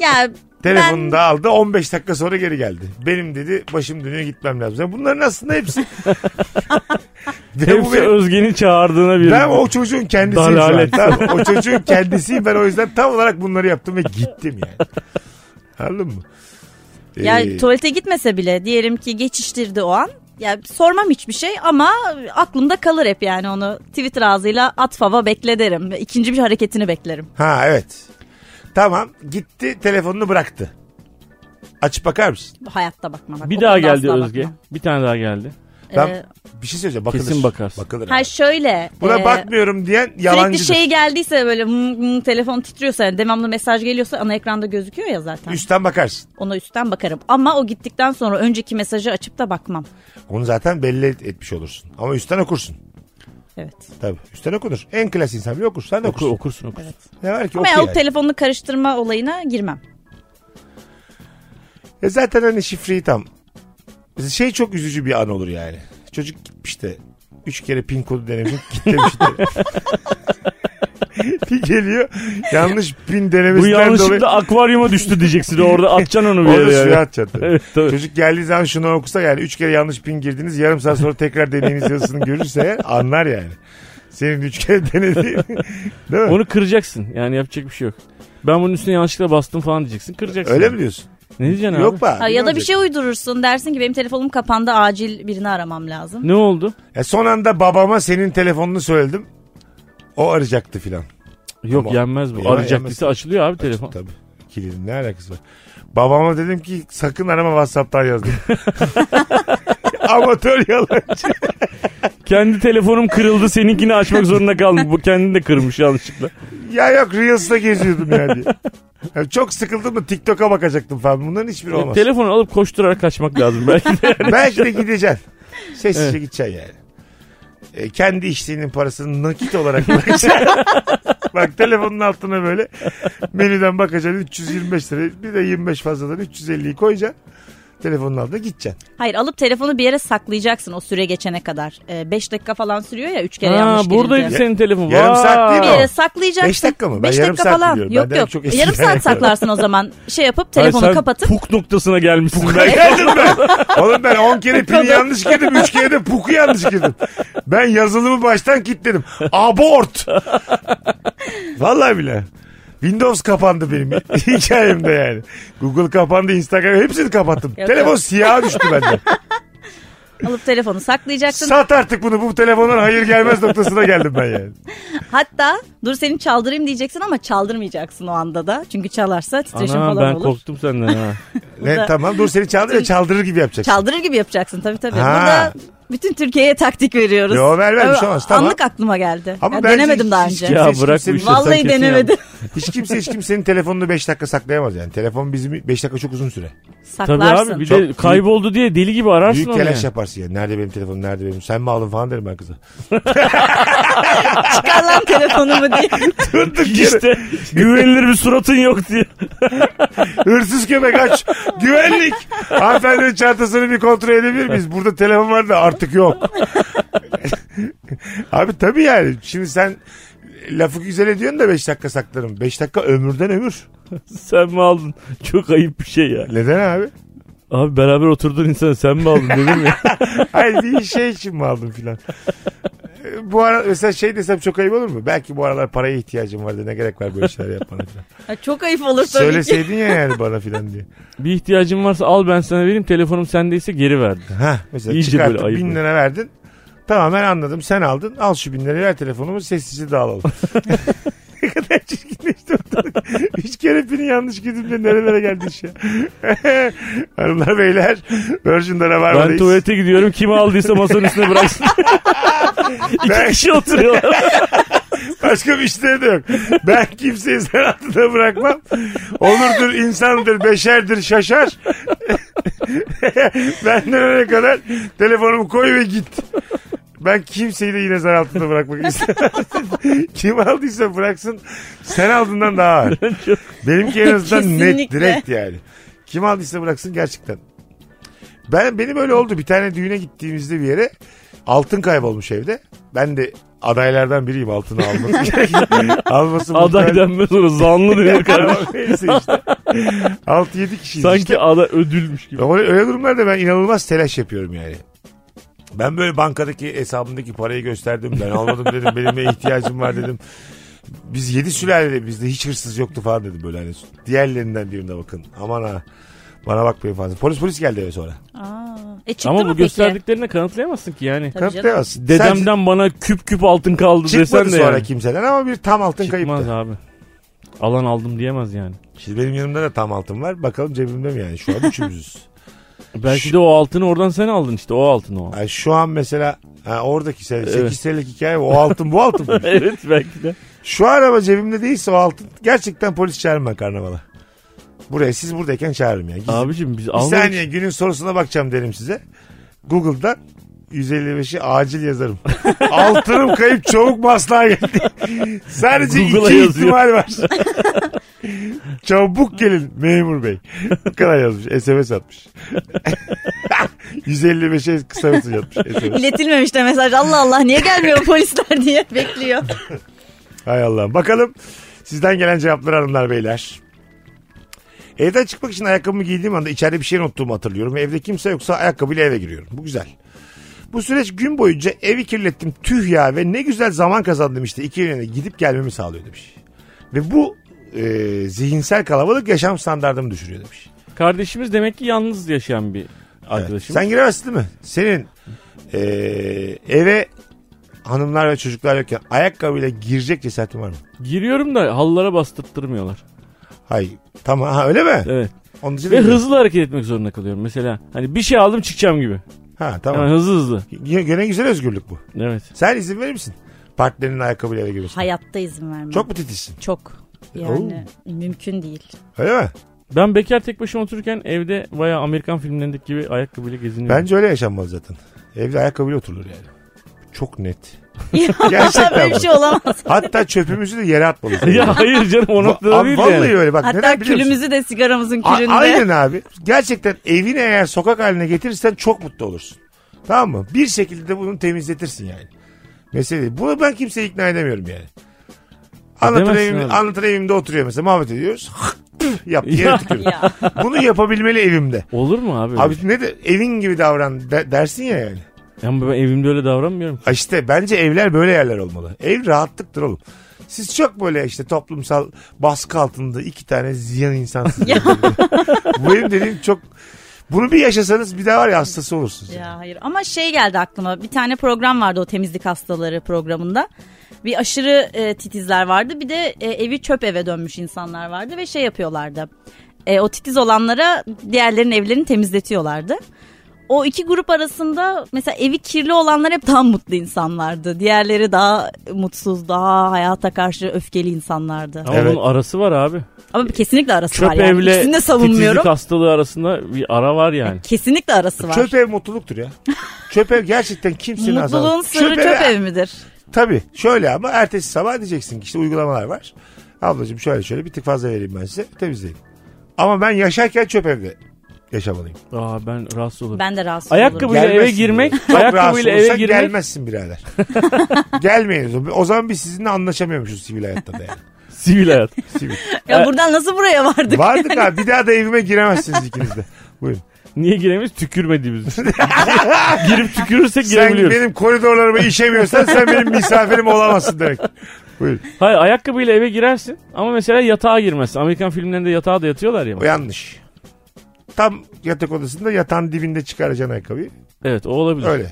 [SPEAKER 5] ya
[SPEAKER 3] Telefonunu
[SPEAKER 5] ben
[SPEAKER 3] da aldı 15 dakika sonra geri geldi. Benim dedi başım dönüyor gitmem lazım. Yani bunların aslında hepsi. Ve bu
[SPEAKER 4] Hepsi
[SPEAKER 3] benim-
[SPEAKER 4] Özge'nin çağırdığına bir.
[SPEAKER 3] Ben o çocuğun kendisiyim şu an.
[SPEAKER 4] Dalalet.
[SPEAKER 3] Tamam, O çocuğun kendisiyim ben o yüzden tam olarak bunları yaptım ve gittim yani. Anladın mı?
[SPEAKER 5] ya
[SPEAKER 3] Ee,
[SPEAKER 5] tuvalete gitmese bile diyelim ki geçiştirdi o an. Ya sormam hiçbir şey ama aklımda kalır hep yani onu Twitter ağzıyla at fava bekle derim. İkinci bir hareketini beklerim.
[SPEAKER 3] ha evet. Tamam gitti telefonunu bıraktı. Açıp bakar mısın?
[SPEAKER 5] Hayatta bakma bak.
[SPEAKER 4] Bir
[SPEAKER 5] O
[SPEAKER 4] daha
[SPEAKER 5] konuda
[SPEAKER 4] geldi
[SPEAKER 5] asla
[SPEAKER 4] Özge.
[SPEAKER 5] bakma.
[SPEAKER 4] Bir tane daha geldi.
[SPEAKER 3] Ben
[SPEAKER 5] Ee,
[SPEAKER 3] bir şey söyleyeceğim bakılır.
[SPEAKER 4] Kesin bakarsın.
[SPEAKER 3] Bakılır.
[SPEAKER 5] Ha
[SPEAKER 3] abi.
[SPEAKER 5] şöyle.
[SPEAKER 3] Buna
[SPEAKER 5] e,
[SPEAKER 3] bakmıyorum diyen
[SPEAKER 5] Sürekli
[SPEAKER 3] yalancıdır.
[SPEAKER 5] şey geldiyse böyle hmm, hmm, telefon titriyorsa yani devamlı mesaj geliyorsa ana ekranda gözüküyor ya zaten.
[SPEAKER 3] Üstten bakarsın.
[SPEAKER 5] Ona üstten bakarım. Ama o gittikten sonra önceki mesajı açıp da bakmam.
[SPEAKER 3] Onu zaten belli et- etmiş olursun. Ama üstten okursun.
[SPEAKER 5] Evet.
[SPEAKER 3] Tabii. Üstten okunur. En klas insan bile okur. Sen de
[SPEAKER 4] Oku,
[SPEAKER 3] okursun.
[SPEAKER 4] okursun okursun.
[SPEAKER 3] Ne var ki
[SPEAKER 5] Ama
[SPEAKER 3] oku
[SPEAKER 5] ya o
[SPEAKER 3] yani.
[SPEAKER 5] telefonunu karıştırma olayına girmem.
[SPEAKER 3] E zaten hani şifreyi tam. Şey çok üzücü bir an olur yani. Çocuk gitmiş de. Üç kere pin kodu denemiş. Git demiş de. bir geliyor. Yanlış pin
[SPEAKER 4] Bu
[SPEAKER 3] denemesinden dolayı.
[SPEAKER 4] yanlışlıkla akvaryuma düştü diyeceksin orada atacaksın onu bir
[SPEAKER 3] Orada
[SPEAKER 4] yere.
[SPEAKER 3] suya
[SPEAKER 4] yani.
[SPEAKER 3] atacaksın.
[SPEAKER 4] Evet, tabii.
[SPEAKER 3] Çocuk geldiği zaman şunu okusa yani üç kere yanlış pin girdiniz yarım saat sonra tekrar deneyiniz yazısını görürse eğer anlar yani. Senin üç kere denediğin. Değil mi?
[SPEAKER 4] Onu kıracaksın yani yapacak bir şey yok. Ben bunun üstüne yanlışlıkla bastım falan diyeceksin. Kıracaksın.
[SPEAKER 3] Öyle
[SPEAKER 4] yani.
[SPEAKER 3] mi diyorsun?
[SPEAKER 4] Ne diyeceksin abi?
[SPEAKER 3] Yok be.
[SPEAKER 5] Ha,
[SPEAKER 3] abi,
[SPEAKER 5] ya
[SPEAKER 3] ne
[SPEAKER 5] da bir
[SPEAKER 3] olacak?
[SPEAKER 5] şey uydurursun dersin ki benim telefonum kapandı acil birini aramam lazım.
[SPEAKER 4] Ne oldu?
[SPEAKER 5] şey-
[SPEAKER 3] E son anda babama senin telefonunu söyledim. O arayacaktı filan.
[SPEAKER 4] Yok
[SPEAKER 3] Tamam.
[SPEAKER 4] yenmez bu.
[SPEAKER 3] Ya,
[SPEAKER 4] Arayacak
[SPEAKER 3] yenmez.
[SPEAKER 4] birisi açılıyor abi telefon.
[SPEAKER 3] Tabii. Kilidin ne alakası var? Babama dedim ki sakın arama Whatsapp'tan yazdım. Amatör yalancı.
[SPEAKER 4] Kendi telefonum kırıldı seninkini açmak zorunda kaldım. Bu kendini de kırmış yanlışlıkla.
[SPEAKER 3] Ya yok Reels'da geziyordum yani. diye. Yani çok sıkıldım da TikTok'a bakacaktım falan. Bunların
[SPEAKER 5] E,
[SPEAKER 3] hiçbiri olmaz.
[SPEAKER 4] E, Telefonu alıp koşturarak kaçmak lazım belki de.
[SPEAKER 3] Belki de gideceksin. Sessizce gideceksin yani. E, kendi işliğinin parasını nakit olarak bırakacaksın. Bak telefonun altına böyle menüden bakacaksın 325 lira bir de 25 fazladan 350'yi koyacaksın. Telefonun altına gideceksin.
[SPEAKER 5] Hayır alıp telefonu bir yere saklayacaksın o süre geçene kadar. 5 dakika falan sürüyor ya 3 kere
[SPEAKER 4] Ha,
[SPEAKER 5] yanlış
[SPEAKER 4] buradaydı
[SPEAKER 5] girince.
[SPEAKER 4] senin telefon.
[SPEAKER 3] Yarım saat
[SPEAKER 4] Vay.
[SPEAKER 5] Bir
[SPEAKER 3] değil mi o?
[SPEAKER 5] yere saklayacaksın.
[SPEAKER 3] Beş dakika mı? Ben
[SPEAKER 5] Beş
[SPEAKER 3] yarım
[SPEAKER 5] dakika
[SPEAKER 3] saat
[SPEAKER 5] falan.
[SPEAKER 3] biliyorum.
[SPEAKER 5] Yok
[SPEAKER 3] Benden
[SPEAKER 5] yok.
[SPEAKER 3] çok eski
[SPEAKER 5] yarım saat
[SPEAKER 3] yani.
[SPEAKER 5] saklarsın o zaman. Şey yapıp
[SPEAKER 4] Ay,
[SPEAKER 5] telefonu
[SPEAKER 4] sen
[SPEAKER 5] kapatıp
[SPEAKER 4] Puk noktasına gelmişsin.
[SPEAKER 3] Ben geldim ben. Oğlum ben 10 kere pini yanlış girdim. 3 kere de puku yanlış girdim. Ben yazılımı baştan kilitledim. Abort. Vallahi bile. Windows kapandı benim hikayemde yani. Google kapandı, Instagram hepsini kapattım.
[SPEAKER 5] Yok,
[SPEAKER 3] Telefon
[SPEAKER 5] yok.
[SPEAKER 3] siyaha düştü bende.
[SPEAKER 5] alıp telefonu saklayacaksın.
[SPEAKER 3] Sat artık bunu bu telefondan hayır gelmez noktasına geldim ben yani.
[SPEAKER 5] Hatta dur seni çaldırayım diyeceksin ama çaldırmayacaksın o anda da. Çünkü çalarsa titreşim
[SPEAKER 4] Ana
[SPEAKER 5] falan
[SPEAKER 4] ben
[SPEAKER 5] olur.
[SPEAKER 4] korktum senden ha.
[SPEAKER 3] Ne, tamam dur seni çaldır ya çaldırır gibi yapacaksın.
[SPEAKER 5] Çaldırır gibi yapacaksın tabii tabii.
[SPEAKER 3] Ha.
[SPEAKER 5] Burada bütün Türkiye'ye taktik veriyoruz.
[SPEAKER 3] Yo, ver, ver, bir
[SPEAKER 5] Ö-
[SPEAKER 3] şey olmaz, tamam.
[SPEAKER 5] Anlık aklıma geldi.
[SPEAKER 3] Ama
[SPEAKER 5] Ya
[SPEAKER 3] bence
[SPEAKER 5] denemedim
[SPEAKER 3] hiç-
[SPEAKER 5] daha
[SPEAKER 3] hiç
[SPEAKER 5] önce.
[SPEAKER 3] kimse-
[SPEAKER 4] Ya
[SPEAKER 3] hiç
[SPEAKER 4] bırak bu
[SPEAKER 3] kimsenin-
[SPEAKER 4] işi. sen
[SPEAKER 5] Vallahi
[SPEAKER 4] kesin
[SPEAKER 5] denemedim.
[SPEAKER 3] Hiç kimse hiç kimsenin telefonunu 5 dakika saklayamaz yani. Telefon bizim 5 dakika çok uzun süre.
[SPEAKER 5] Saklarsın.
[SPEAKER 4] Tabii abi bir de
[SPEAKER 3] Çok-
[SPEAKER 4] kayboldu diye deli gibi ararsın
[SPEAKER 3] Büyük
[SPEAKER 4] onu.
[SPEAKER 3] telaş
[SPEAKER 4] yani.
[SPEAKER 3] yaparsın ya. Nerede benim telefonum, nerede benim? Sen mi aldın falan derim ben kıza.
[SPEAKER 5] Çıkar lan telefonumu diye.
[SPEAKER 3] Durduk
[SPEAKER 4] İşte güvenilir bir suratın yok diye.
[SPEAKER 3] Hırsız köpek aç. Güvenlik. Hanımefendinin çantasını bir kontrol edebilir miyiz? Burada telefon var da artık yok. Abi tabii yani. Şimdi sen lafı güzel ediyorsun da 5 dakika saklarım. 5 dakika ömürden ömür.
[SPEAKER 4] Sen mi aldın? Çok ayıp bir şey ya.
[SPEAKER 3] Neden abi?
[SPEAKER 4] Abi beraber oturduğun insana sen mi aldın dedim ya.
[SPEAKER 3] Hayır bir şey için mi aldın filan? Ee, Bu ara mesela şey desem çok ayıp olur mu? Belki bu aralar paraya ihtiyacım vardı. Ne gerek var böyle şeyler yapmana filan.
[SPEAKER 5] Ya Çok ayıp olur tabii ki.
[SPEAKER 3] Söyleseydin ya yani bana filan diye.
[SPEAKER 4] bir ihtiyacın varsa al ben sana vereyim. Telefonum sendeyse geri ver.
[SPEAKER 3] Ha mesela
[SPEAKER 4] İyice
[SPEAKER 3] çıkarttın
[SPEAKER 4] böyle ayıp
[SPEAKER 3] bin
[SPEAKER 4] oldu.
[SPEAKER 3] lira verdin. Tamam ben anladım sen aldın. Al şu bin lirayı ver telefonumu sessizce dağılalım. ne kadar çirkinleşti ortalık. Üç kere pini yanlış girdim de nerelere geldi iş ya. Hanımlar beyler Virgin'de Rabarba'dayız.
[SPEAKER 4] Ben tuvalete gidiyorum. Kim aldıysa masanın üstüne bıraksın. İki
[SPEAKER 3] Ben-
[SPEAKER 4] kişi oturuyor.
[SPEAKER 3] Başka bir işleri de yok. Ben kimseyi sen altında bırakmam. Olurdur, insandır, beşerdir, şaşar. Benden öne kadar telefonumu koy ve git. Ben kimseyi de yine zar altında bırakmak istemem. Kim aldıysa bıraksın. Sen aldığından daha ağır. Benimki en azından net
[SPEAKER 5] Kesinlikle.
[SPEAKER 3] direkt yani. Kim aldıysa bıraksın gerçekten. Ben benim öyle oldu. Bir tane düğüne gittiğimizde bir yere altın kaybolmuş evde. Ben de adaylardan biriyim altını alması gerekiyor. alması
[SPEAKER 4] Aday
[SPEAKER 3] muhtemelen-
[SPEAKER 4] denmez ona. Zanlı diyor kardeşim.
[SPEAKER 3] Neyse işte. 6-7 kişiyiz işte.
[SPEAKER 4] Sanki aday ödülmüş gibi.
[SPEAKER 3] Ama öyle durumlarda ben inanılmaz telaş yapıyorum yani. Ben böyle bankadaki hesabımdaki parayı gösterdim. Ben almadım dedim. Benim de ihtiyacım var dedim. Biz 7 sülalede bizde hiç hırsız yoktu falan dedim böyle. Hani diğerlerinden birine bakın. Aman ha. Bana bakmayın fazla. Polis polis geldi eve sonra.
[SPEAKER 5] Aa, e çıktı
[SPEAKER 4] Ama
[SPEAKER 5] mı
[SPEAKER 4] bu
[SPEAKER 5] peki?
[SPEAKER 4] gösterdiklerini kanıtlayamazsın ki yani.
[SPEAKER 5] Tabii canım.
[SPEAKER 3] Kaptayamazsın.
[SPEAKER 4] Dedemden bana küp küp altın kaldı
[SPEAKER 3] Çıkmadı
[SPEAKER 4] desen de
[SPEAKER 3] sonra
[SPEAKER 4] yani.
[SPEAKER 3] kimseden ama bir tam altın
[SPEAKER 4] Çıkmaz
[SPEAKER 3] kayıptı.
[SPEAKER 4] abi. Alan aldım diyemez yani.
[SPEAKER 3] Şimdi benim yanımda da tam altın var. Bakalım cebimde mi yani? Şu an üçümüzüz.
[SPEAKER 4] Belki de o altını oradan sen aldın işte o altın o.
[SPEAKER 3] Yani şu an mesela ha, oradaki sen, 8
[SPEAKER 4] Evet.
[SPEAKER 3] senelik hikaye o altın bu altın mı?
[SPEAKER 4] evet belki de.
[SPEAKER 3] Şu an ama cebimde değilse o altın gerçekten polis çağırırım ben karnavala. Buraya siz buradayken çağırırım ya. Gizli.
[SPEAKER 4] Abicim biz
[SPEAKER 3] bir
[SPEAKER 4] almadık.
[SPEAKER 3] saniye günün sorusuna bakacağım derim size. Google'da 155'i acil yazarım. Altınım kayıp çabuk baslığa geldi. Sadece
[SPEAKER 4] Google'a
[SPEAKER 3] iki
[SPEAKER 4] yazıyor.
[SPEAKER 3] ihtimal var. çabuk gelin memur bey. Bu kadar yazmış. SMS atmış. 155'e kısa mesaj atmış. SMS.
[SPEAKER 5] İletilmemiş de mesaj Allah Allah niye gelmiyor polisler diye bekliyor.
[SPEAKER 3] Hay Allah. Bakalım sizden gelen cevaplar hanımlar beyler. Evden çıkmak için ayakkabımı giydiğim anda içeride bir şey unuttuğumu hatırlıyorum. ve Evde kimse yoksa ayakkabıyla eve giriyorum. Bu güzel. Bu süreç gün boyunca evi kirlettim tüh ya ve ne güzel zaman kazandım işte. İki yöne gidip gelmemi sağlıyor demiş. Ve bu e, zihinsel kalabalık yaşam standartımı düşürüyor demiş.
[SPEAKER 4] Kardeşimiz demek ki yalnız yaşayan bir
[SPEAKER 3] Evet.
[SPEAKER 4] arkadaşım.
[SPEAKER 3] Sen giremezsin değil mi? Senin e, eve hanımlar ve çocuklar yokken ayakkabıyla girecek cesaretin var mı?
[SPEAKER 4] Giriyorum da halılara bastırttırmıyorlar.
[SPEAKER 3] Hayır. Tamam ha, öyle mi?
[SPEAKER 4] Evet.
[SPEAKER 3] Onun için
[SPEAKER 4] Ve
[SPEAKER 3] değil mi?
[SPEAKER 4] hızlı hareket etmek zorunda kalıyorum. Mesela hani bir şey aldım çıkacağım gibi.
[SPEAKER 3] Ha
[SPEAKER 4] Yani
[SPEAKER 3] tamam.
[SPEAKER 4] hızlı hızlı.
[SPEAKER 3] Gene Gene güzel özgürlük bu.
[SPEAKER 4] Evet.
[SPEAKER 3] Sen izin verir misin? Partnerinin ayakkabıyla eve girmesine.
[SPEAKER 5] Hayatta izin vermem.
[SPEAKER 3] Çok mu titizsin?
[SPEAKER 5] Çok. Yani mümkün değil.
[SPEAKER 3] Öyle mi?
[SPEAKER 4] Ben bekar tek başıma otururken evde bayağı Amerikan filmlerindeki gibi ayakkabıyla geziniyorum.
[SPEAKER 3] Bence öyle yaşanmalı zaten. Evde ayakkabıyla oturulur yani. Çok net.
[SPEAKER 5] Ya,
[SPEAKER 3] Gerçekten
[SPEAKER 5] böyle bir
[SPEAKER 3] bak.
[SPEAKER 5] şey olamaz.
[SPEAKER 3] Hatta çöpümüzü de yere atmalıyız.
[SPEAKER 4] ya hayır canım o noktada
[SPEAKER 3] Va-
[SPEAKER 4] değil
[SPEAKER 3] vallahi
[SPEAKER 4] yani.
[SPEAKER 3] öyle bak.
[SPEAKER 5] Hatta
[SPEAKER 3] neden biliyor musun?
[SPEAKER 5] külümüzü de sigaramızın
[SPEAKER 3] A-
[SPEAKER 5] külünde.
[SPEAKER 3] aynen abi. Gerçekten evini eğer sokak haline getirirsen çok mutlu olursun. Tamam mı? Bir şekilde bunu temizletirsin yani. Mesele değil. Bunu ben kimseye ikna edemiyorum yani. Anlatır,
[SPEAKER 4] Edemezsin
[SPEAKER 3] evim,
[SPEAKER 4] E, abi.
[SPEAKER 3] anlatır evimde oturuyor mesela muhabbet ediyoruz. Yap
[SPEAKER 4] Ya.
[SPEAKER 3] yere tükürüyor. Bunu yapabilmeli evimde.
[SPEAKER 4] Olur mu abi?
[SPEAKER 3] Abi ne de evin gibi davran de- dersin ya yani.
[SPEAKER 4] Ama ben evimde öyle davranmıyorum.
[SPEAKER 3] Ha İşte bence evler böyle yerler olmalı. Ev rahatlıktır oğlum. Siz çok böyle işte toplumsal baskı altında iki tane ziyan insansınız. Bu benim dediğim çok... Bunu bir yaşasanız bir daha var ya hastası olursunuz.
[SPEAKER 5] Ya hayır ama şey geldi aklıma bir tane program vardı o temizlik hastaları programında. Bir aşırı e, titizler vardı bir de e, evi çöp eve dönmüş insanlar vardı ve şey yapıyorlardı. E, o titiz olanlara diğerlerin evlerini temizletiyorlardı. O iki grup arasında mesela evi kirli olanlar hep daha mutlu insanlardı. Diğerleri daha mutsuz, daha hayata karşı öfkeli insanlardı.
[SPEAKER 4] Ama
[SPEAKER 3] Evet.
[SPEAKER 4] bunun arası var abi.
[SPEAKER 5] Ama kesinlikle arası
[SPEAKER 4] Çöp
[SPEAKER 5] var yani.
[SPEAKER 4] evle
[SPEAKER 5] İkisini de savunmuyorum.
[SPEAKER 4] titizlik hastalığı arasında bir ara var yani.
[SPEAKER 5] Kesinlikle arası var.
[SPEAKER 3] Çöp ev mutluluktur ya. çöp ev gerçekten kimsenin
[SPEAKER 5] Mutluluğun
[SPEAKER 3] azalmaz.
[SPEAKER 5] sırrı çöp ev midir?
[SPEAKER 3] Tabii şöyle ama ertesi sabah diyeceksin ki işte uygulamalar var. Ablacığım şöyle şöyle bir tık fazla vereyim ben size temizleyin. Ama ben yaşarken çöp evde yaşamalıyım.
[SPEAKER 4] Aa ben rahatsız olurum.
[SPEAKER 5] Ben de rahatsız olurum.
[SPEAKER 4] Ayakkabıyla eve
[SPEAKER 3] Gelmezsin
[SPEAKER 4] girmek,
[SPEAKER 3] diyor. Çok rahatsız
[SPEAKER 4] ayakkabıyla eve
[SPEAKER 3] olursan
[SPEAKER 4] girmek.
[SPEAKER 3] gelmezsin birader. Gelmeyiniz. o- O zaman biz sizinle anlaşamıyormuşuz sivil hayatta da yani.
[SPEAKER 4] Sivil hayat.
[SPEAKER 3] Sivil.
[SPEAKER 5] Ya buradan nasıl buraya vardık?
[SPEAKER 3] Vardık abi bir daha da evime giremezsiniz ikiniz de. Buyurun.
[SPEAKER 4] Niye giremeyiz? Tükürmediğimiz için. Girip tükürürsek
[SPEAKER 3] Sen
[SPEAKER 4] girebiliyoruz.
[SPEAKER 3] benim koridorlarıma işemiyorsan sen benim misafirim olamazsın demek. Buyurun.
[SPEAKER 4] Hayır ayakkabıyla eve girersin ama mesela yatağa girmezsin. Amerikan filmlerinde yatağa da yatıyorlar ya.
[SPEAKER 3] O yanlış. Tam yatak odasında yatağın dibinde çıkaracaksın ayakkabıyı.
[SPEAKER 4] Evet o olabilir.
[SPEAKER 3] Öyle.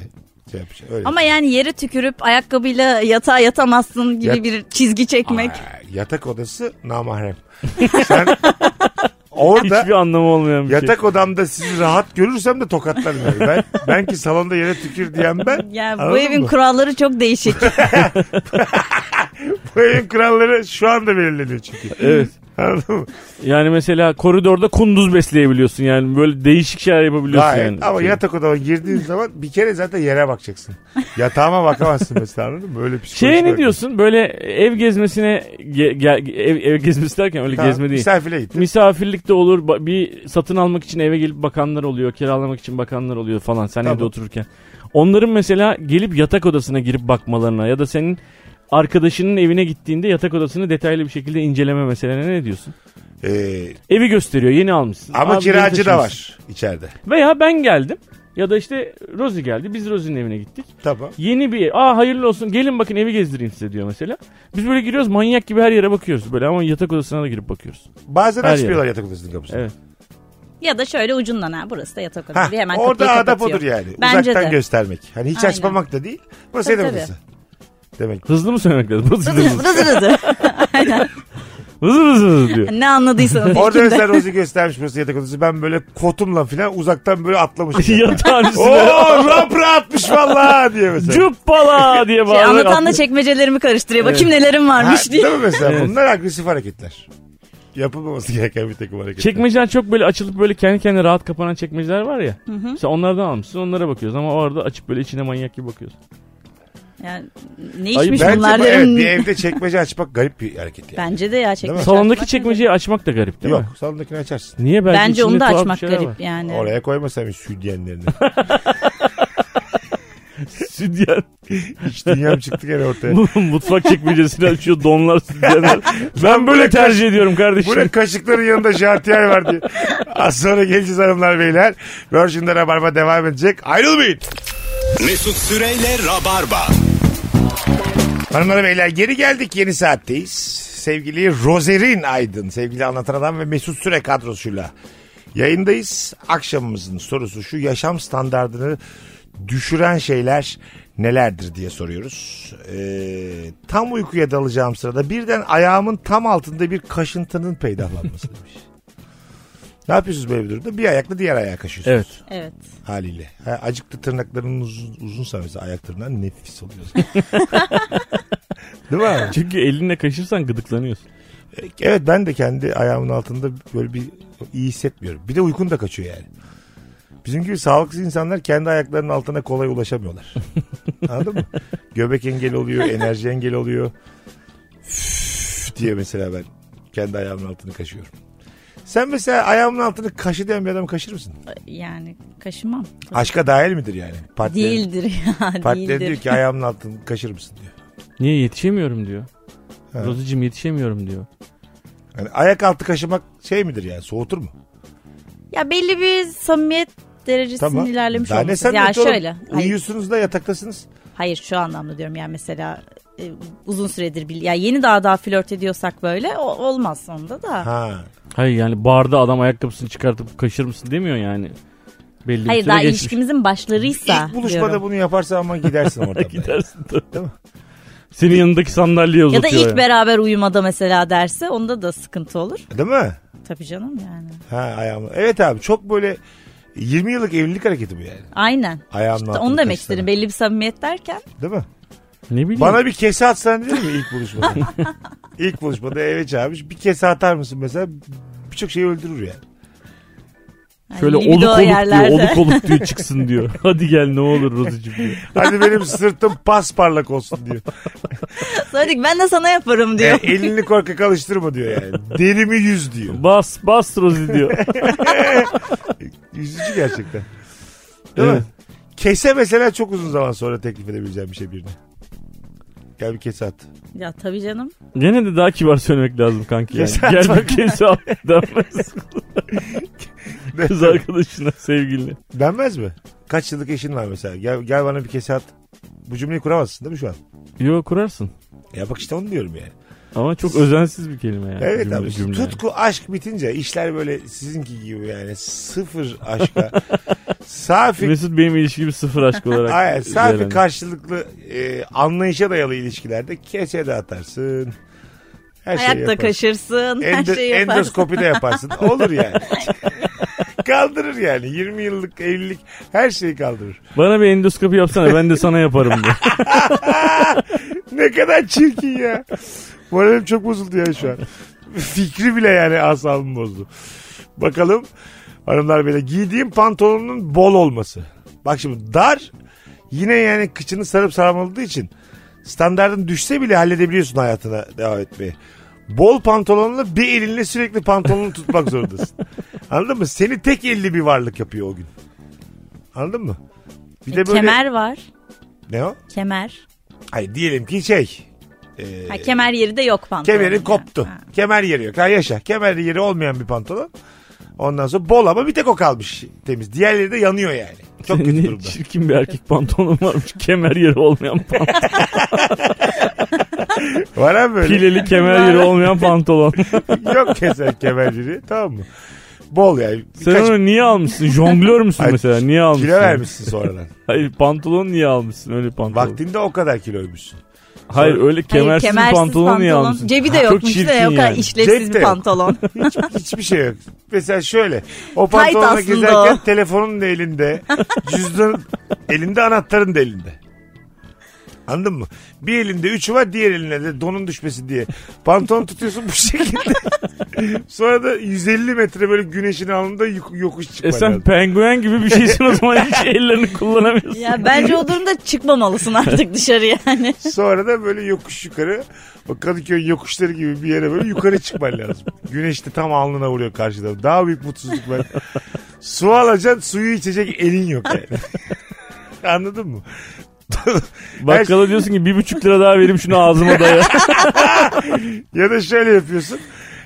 [SPEAKER 3] Şey yapacak, öyle.
[SPEAKER 5] Ama yani yere tükürüp ayakkabıyla yatağa yatamazsın gibi
[SPEAKER 3] Yat-
[SPEAKER 5] bir çizgi çekmek.
[SPEAKER 3] Aa, yatak odası namahrem. Sen orada
[SPEAKER 4] Hiçbir anlamı olmayan bir şey.
[SPEAKER 3] Yatak odamda sizi rahat görürsem de tokatlarım yani. Ben, ben ki salonda yere tükür diyen ben.
[SPEAKER 5] Yani bu
[SPEAKER 3] Anladın
[SPEAKER 5] evin
[SPEAKER 3] mı?
[SPEAKER 5] kuralları çok değişik.
[SPEAKER 3] bu evin kuralları şu anda belirleniyor çünkü.
[SPEAKER 4] Evet.
[SPEAKER 3] Anladın mı?
[SPEAKER 4] Yani mesela koridorda kunduz besleyebiliyorsun yani böyle değişik şeyler yapabiliyorsun
[SPEAKER 3] Gayet.
[SPEAKER 4] yani.
[SPEAKER 3] Ama yatak odama girdiğin zaman bir kere zaten yere bakacaksın. Yatağıma bakamazsın mesela anladın mı? Böyle psikolojik.
[SPEAKER 4] Şeye ne
[SPEAKER 3] olarak.
[SPEAKER 4] diyorsun böyle ev gezmesine ge- ge- ev, ev gezmesi derken öyle
[SPEAKER 3] Tamam,
[SPEAKER 4] gezme değil.
[SPEAKER 3] Misafire gittin.
[SPEAKER 4] Misafirlik de olur ba- bir satın almak için eve gelip bakanlar oluyor kiralamak için bakanlar oluyor falan sen
[SPEAKER 3] Tamam.
[SPEAKER 4] evde otururken. Onların mesela gelip yatak odasına girip bakmalarına ya da senin arkadaşının evine gittiğinde yatak odasını detaylı bir şekilde inceleme meselene ne diyorsun?
[SPEAKER 3] Ee,
[SPEAKER 4] Evi gösteriyor yeni almışsın.
[SPEAKER 3] ama
[SPEAKER 4] Abi,
[SPEAKER 3] kiracı
[SPEAKER 4] yeni
[SPEAKER 3] da
[SPEAKER 4] taşımışsın.
[SPEAKER 3] var içeride.
[SPEAKER 4] Veya ben geldim ya da işte Rosie geldi biz Rosie'nin evine gittik.
[SPEAKER 3] Tamam.
[SPEAKER 4] Yeni bir ev. Aa hayırlı olsun gelin bakın evi gezdireyim size diyor mesela. Biz böyle giriyoruz manyak gibi her yere bakıyoruz böyle ama yatak odasına da girip bakıyoruz.
[SPEAKER 3] Bazen
[SPEAKER 4] Her
[SPEAKER 3] açmıyorlar yatak odasının kapısını.
[SPEAKER 4] Evet.
[SPEAKER 5] ya da şöyle ucundan ha burası da yatak
[SPEAKER 3] Ha,
[SPEAKER 5] odası diye hemen
[SPEAKER 3] orada
[SPEAKER 5] kapıyı
[SPEAKER 3] adap
[SPEAKER 5] kapatıyor.
[SPEAKER 3] odur yani.
[SPEAKER 5] Bence
[SPEAKER 3] Uzaktan
[SPEAKER 5] de.
[SPEAKER 3] göstermek. Hani hiç
[SPEAKER 5] Aynen.
[SPEAKER 3] açmamak da değil. Burası
[SPEAKER 5] Tabii,
[SPEAKER 3] yatak
[SPEAKER 5] tabii.
[SPEAKER 3] odası. Demek
[SPEAKER 4] Hızlı mı söylemek lazım? Hızlı, hızlı.
[SPEAKER 5] Rızı rızı.
[SPEAKER 4] Vız vız vız diyor.
[SPEAKER 5] Ne anladıysanız
[SPEAKER 3] Orada
[SPEAKER 5] ilkinde.
[SPEAKER 3] mesela Rozi göstermiş burası yatak odası. Ben böyle kotumla falan uzaktan böyle atlamışım.
[SPEAKER 4] Yatağın
[SPEAKER 5] Oh!
[SPEAKER 4] üstüne.
[SPEAKER 3] Oo rapra atmış valla diye mesela.
[SPEAKER 4] Cüppala diye
[SPEAKER 5] Şey,
[SPEAKER 4] bağırarak
[SPEAKER 5] anlatan da
[SPEAKER 4] atmış.
[SPEAKER 5] çekmecelerimi karıştırıyor. Bakayım nelerim
[SPEAKER 3] Ha,
[SPEAKER 5] varmış diye.
[SPEAKER 3] Değil mi mesela?
[SPEAKER 4] Evet.
[SPEAKER 3] Bunlar agresif hareketler. Yapılmaması gereken bir takım hareketler.
[SPEAKER 4] Çekmeceden çok böyle açılıp böyle kendi kendine rahat kapanan çekmeceler var ya. Sen onlardan almışsın onlara bakıyoruz ama orada açıp böyle içine manyak gibi bakıyoruz.
[SPEAKER 5] Yani, ne
[SPEAKER 4] Ay,
[SPEAKER 5] içmiş
[SPEAKER 3] Bence
[SPEAKER 5] bunlar
[SPEAKER 3] bu,
[SPEAKER 5] derim.
[SPEAKER 3] evet, bir evde çekmece açmak garip bir hareket yani.
[SPEAKER 5] Bence de ya çekmece.
[SPEAKER 4] Salondaki çekmeceyi açmak da garip değil
[SPEAKER 3] Yok
[SPEAKER 4] mi?
[SPEAKER 3] salondakini açarsın.
[SPEAKER 4] Niye belki
[SPEAKER 5] Bence onu
[SPEAKER 4] içinde
[SPEAKER 5] da
[SPEAKER 4] tuhaf bir
[SPEAKER 5] açmak
[SPEAKER 4] şeyler
[SPEAKER 5] garip
[SPEAKER 4] var.
[SPEAKER 5] yani.
[SPEAKER 3] Oraya koymasam hiç südyenlerini.
[SPEAKER 4] Sütyen.
[SPEAKER 3] Hiç dünyam çıktı gene ortaya.
[SPEAKER 4] Mutfak çekmecesini açıyor donlar sütyenler. Ben böyle tercih ediyorum kardeşim.
[SPEAKER 3] Bu ne kaşıkların yanında jartiyer var diye. Az sonra geleceğiz hanımlar beyler. Virgin'de Rabarba devam edecek. Ayrılmayın.
[SPEAKER 2] Mesut Süreyle Rabarba.
[SPEAKER 3] Hanımlar beyler geri geldik yeni saatteyiz. Sevgili Rozerin Aydın, sevgili Anlatan Adam ve Mesut Süre kadrosuyla yayındayız. Akşamımızın sorusu şu yaşam standartını düşüren şeyler nelerdir diye soruyoruz. Ee, tam uykuya dalacağım sırada birden ayağımın tam altında bir kaşıntının peydahlanması demiş. Ne yapıyorsunuz böyle bir durumda? Bir ayakla diğer ayağa kaşıyorsunuz
[SPEAKER 4] Evet.
[SPEAKER 5] Evet.
[SPEAKER 3] haliyle. Ha, acıktı tırnaklarının uzun, uzunsa mesela ayak tırnağın nefis oluyor. Değil mi abi?
[SPEAKER 4] Çünkü elinle kaşırsan gıdıklanıyorsun.
[SPEAKER 3] Evet ben de kendi ayağımın altında böyle bir iyi hissetmiyorum. Bir de uykun da kaçıyor yani. Bizim gibi sağlıksız insanlar kendi ayaklarının altına kolay ulaşamıyorlar. Anladın mı? Göbek engeli oluyor, enerji engeli oluyor. Üf diye mesela ben kendi ayağımın altını kaşıyorum. Sen mesela ayağımın altını kaşı diyen bir adamı kaşır mısın?
[SPEAKER 5] Yani kaşımam.
[SPEAKER 3] Aşka dahil midir yani? Partnerin-
[SPEAKER 5] Değildir ya.
[SPEAKER 3] Partner
[SPEAKER 5] değildir.
[SPEAKER 3] diyor ki ayağımın altını kaşır mısın diyor.
[SPEAKER 4] Niye yetişemiyorum diyor.
[SPEAKER 3] Ha.
[SPEAKER 4] Rozucum yetişemiyorum diyor.
[SPEAKER 3] Yani ayak altı kaşımak şey midir yani soğutur mu?
[SPEAKER 5] Ya belli bir samimiyet derecesinin
[SPEAKER 3] Tamam.
[SPEAKER 5] ilerlemiş
[SPEAKER 3] Daha ne
[SPEAKER 5] olması.
[SPEAKER 3] samimiyet
[SPEAKER 5] Ya
[SPEAKER 3] oğlum?
[SPEAKER 5] şöyle. Hayır,
[SPEAKER 3] Uyuyorsunuz da yataktasınız.
[SPEAKER 5] hayır şu anlamda diyorum yani mesela e, uzun süredir bil. Ya yeni daha daha flört ediyorsak böyle o- olmaz sonunda da.
[SPEAKER 3] Ha.
[SPEAKER 4] Hayır yani barda adam ayakkabısını çıkartıp kaşır mısın demiyor yani. Belli bir
[SPEAKER 5] Hayır
[SPEAKER 4] süre
[SPEAKER 5] daha
[SPEAKER 4] geçmiş.
[SPEAKER 5] ilişkimizin başlarıysa
[SPEAKER 3] İlk buluşmada
[SPEAKER 5] diyorum.
[SPEAKER 3] bunu yaparsa ama gidersin oradan.
[SPEAKER 4] Gidersin tabii.
[SPEAKER 3] Değil mi?
[SPEAKER 4] Senin yanındaki sandalyeye
[SPEAKER 5] Ya da
[SPEAKER 4] uzatıyor.
[SPEAKER 5] ilk
[SPEAKER 4] yani.
[SPEAKER 5] beraber uyumada mesela derse onda da sıkıntı olur.
[SPEAKER 3] Değil mi?
[SPEAKER 5] Tabii canım yani.
[SPEAKER 3] Ha ayağımı. Evet abi çok böyle 20 yıllık evlilik hareketi bu yani.
[SPEAKER 5] Aynen.
[SPEAKER 3] Ayağımın
[SPEAKER 5] İşte
[SPEAKER 3] altını
[SPEAKER 5] onu demek
[SPEAKER 3] kaşısana.
[SPEAKER 5] istedim. Belli bir samimiyet derken
[SPEAKER 3] Değil mi?
[SPEAKER 4] Ne bileyim.
[SPEAKER 3] Bana bir kese atsan diyor mu ilk buluşmada? ilk buluşmada eve çağırmış. Bir kese atar mısın mesela? Birçok şeyi öldürür yani.
[SPEAKER 5] yani
[SPEAKER 4] Şöyle
[SPEAKER 5] libido
[SPEAKER 4] oluk oluk diyor.
[SPEAKER 5] yerlerde.
[SPEAKER 4] Oluk oluk diyor çıksın diyor. Hadi gel ne olur Rozucum diyor.
[SPEAKER 3] Hadi benim sırtım pasparlak olsun diyor.
[SPEAKER 5] Sonra diyor ki, ben de sana yaparım
[SPEAKER 3] E,
[SPEAKER 5] diyor.
[SPEAKER 3] elini korkak alıştırma diyor yani. Derimi yüz diyor.
[SPEAKER 4] Bas bas Rozi diyor.
[SPEAKER 3] Yüzücü gerçekten. Değil
[SPEAKER 4] Evet.
[SPEAKER 3] mi? Kese mesela çok uzun zaman sonra teklif edebileceğim bir şey birine. Gel bir kese at.
[SPEAKER 5] ya tabii canım.
[SPEAKER 4] Gene de daha kibar söylemek lazım kanki yani.
[SPEAKER 3] Keser
[SPEAKER 4] Gel bir kese al denmez. Kız arkadaşına sevgiline.
[SPEAKER 3] Denmez mi? Kaç yıllık eşin var mesela. Gel, gel bana bir kese at. Bu cümleyi kuramazsın değil mi şu an?
[SPEAKER 4] Yo kurarsın.
[SPEAKER 3] Ya bak işte onu diyorum yani.
[SPEAKER 4] Ama çok özensiz bir kelime yani.
[SPEAKER 3] evet
[SPEAKER 4] cümle,
[SPEAKER 3] abi.
[SPEAKER 4] cümle.
[SPEAKER 3] Tutku aşk bitince işler böyle sizinki gibi yani sıfır aşka. safi
[SPEAKER 4] Mesut benim ilişkimi sıfır aşk olarak.
[SPEAKER 3] Aynen, safi
[SPEAKER 4] değerlendir-
[SPEAKER 3] karşılıklı e, anlayışa dayalı ilişkilerde kese de atarsın. Her şeyi
[SPEAKER 5] Ayakla
[SPEAKER 3] yaparsın.
[SPEAKER 5] kaşırsın, her
[SPEAKER 3] Endo,
[SPEAKER 5] şeyi yaparsın.
[SPEAKER 3] endoskopi de yaparsın. Olur yani. kaldırır yani. 20 yıllık evlilik her şeyi kaldırır.
[SPEAKER 4] Bana bir endoskopi yapsana ben de sana yaparım diyor.
[SPEAKER 3] Ne kadar çirkin ya. Moralim çok bozuldu ya şu an. Fikri bile yani asabımı bozdu. Bakalım hanımlar böyle giydiğim pantolonun bol olması. Bak şimdi dar yine yani kıçını sarıp sarmaladığı için standartın düşse bile halledebiliyorsun hayatına devam etmeyi. Bol pantolonla bir elinle sürekli pantolonunu tutmak zorundasın. Anladın mı? Seni tek elli bir varlık yapıyor o gün. Anladın mı? Bir de böyle
[SPEAKER 5] Kemer var.
[SPEAKER 3] ne o?
[SPEAKER 5] Kemer.
[SPEAKER 3] Hayır diyelim ki şey. e,
[SPEAKER 5] Ha, kemer yeri de yok pantolonun.
[SPEAKER 3] Kemeri
[SPEAKER 5] yani.
[SPEAKER 3] koptu.
[SPEAKER 5] Ha.
[SPEAKER 3] Kemer yeri yok. Ha yaşa. Kemer yeri olmayan bir pantolon. Ondan sonra bol ama bir tek o kalmış temiz. Diğerleri de yanıyor yani. Çok kötü
[SPEAKER 4] Ne
[SPEAKER 3] durumda.
[SPEAKER 4] Çirkin bir erkek pantolonu varmış. Kemer yeri olmayan pantolon.
[SPEAKER 3] Var abi böyle.
[SPEAKER 4] Pileli kemer yeri olmayan pantolon.
[SPEAKER 3] yok keser kemer yeri. Tamam mı? Bol yani.
[SPEAKER 4] Sen
[SPEAKER 3] Birkaç
[SPEAKER 4] onu niye almışsın? Jonglör müsün
[SPEAKER 3] Ay,
[SPEAKER 4] mesela? Niye almışsın?
[SPEAKER 3] kilo vermişsin sonradan.
[SPEAKER 4] Hayır pantolon niye almışsın öyle pantolon?
[SPEAKER 3] Vaktinde o kadar kiloymuşsun.
[SPEAKER 4] Hayır öyle
[SPEAKER 5] Hayır,
[SPEAKER 4] kemersiz, bir pantolon niye almışsın?
[SPEAKER 5] Cebi de
[SPEAKER 4] Çok
[SPEAKER 5] yokmuş
[SPEAKER 4] çirkin
[SPEAKER 5] da ya, o kadar
[SPEAKER 4] yani.
[SPEAKER 5] işlevsiz
[SPEAKER 3] Cep de
[SPEAKER 5] bir
[SPEAKER 3] yok.
[SPEAKER 5] pantolon.
[SPEAKER 3] Hiç, hiçbir şey yok. Mesela şöyle. O
[SPEAKER 5] Tight
[SPEAKER 3] pantolonla
[SPEAKER 5] aslında
[SPEAKER 3] gezerken
[SPEAKER 5] o.
[SPEAKER 3] telefonun da elinde. Cüzdanın elinde anahtarın da elinde. Anladın mı? Bir elinde üçü var diğer elinde de donun düşmesi diye. Pantolon tutuyorsun bu şekilde. Sonra da 150 metre böyle güneşin alnında yok- yokuş çıkman
[SPEAKER 4] E sen
[SPEAKER 3] lazım.
[SPEAKER 4] penguen gibi bir şeysin o zaman hiç ellerini kullanamıyorsun.
[SPEAKER 5] ya bence o durumda çıkmamalısın artık dışarı yani.
[SPEAKER 3] Sonra da böyle yokuş yukarı o Kadıköy yokuşları gibi bir yere böyle yukarı çıkman lazım. Güneş de tam alnına vuruyor karşıda. Daha büyük mutsuzluk var. Su alacaksın suyu içecek elin yok yani. Anladın mı?
[SPEAKER 4] Bakkala diyorsun ki bir buçuk lira daha vereyim şunu ağzıma daya.
[SPEAKER 3] şey- Ya da şöyle yapıyorsun.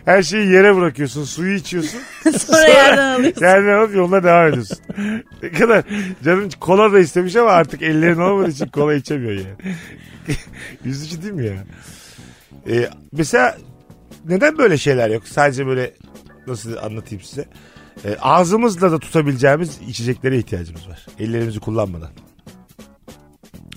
[SPEAKER 3] Her şeyi yere bırakıyorsun. Suyu içiyorsun.
[SPEAKER 5] Sonra yerden alıyorsun.
[SPEAKER 3] Yerden alıp yoluna devam ediyorsun. Ne kadar canın kola da istemiş ama artık ellerin olmadığı için kola içemiyor yani. Yüzücü değil mi ya? Ee, mesela neden böyle şeyler yok? Sadece böyle nasıl anlatayım size? Ee, ağzımızla da tutabileceğimiz içeceklere ihtiyacımız var. Ellerimizi kullanmadan.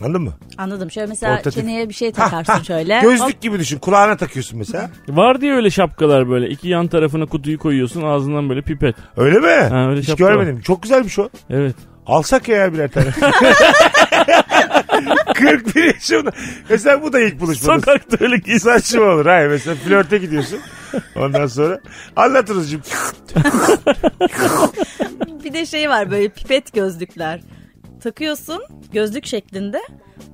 [SPEAKER 3] Anladın mı?
[SPEAKER 5] Anladım. Şöyle mesela
[SPEAKER 3] Portatif.
[SPEAKER 5] çeneye bir şey takarsın şöyle.
[SPEAKER 3] Gözlük gibi düşün. Kulağına takıyorsun mesela.
[SPEAKER 4] Var diye öyle şapkalar böyle. İki yan tarafına kutuyu koyuyorsun ağzından böyle pipet.
[SPEAKER 3] Öyle mi?
[SPEAKER 4] Ha, öyle
[SPEAKER 3] Hiç
[SPEAKER 4] şapka var.
[SPEAKER 3] görmedim. Çok güzelmiş o.
[SPEAKER 4] Evet.
[SPEAKER 3] Alsak ya birer tane. 41 yaşımda. Mesela bu da ilk buluşmamız.
[SPEAKER 4] Sokakta öyle giz.
[SPEAKER 3] Saçma olur. Hayır mesela flörte gidiyorsun. Ondan sonra anlatırız şimdi.
[SPEAKER 5] Bir de şey var böyle pipet gözlükler. Takıyorsun gözlük şeklinde.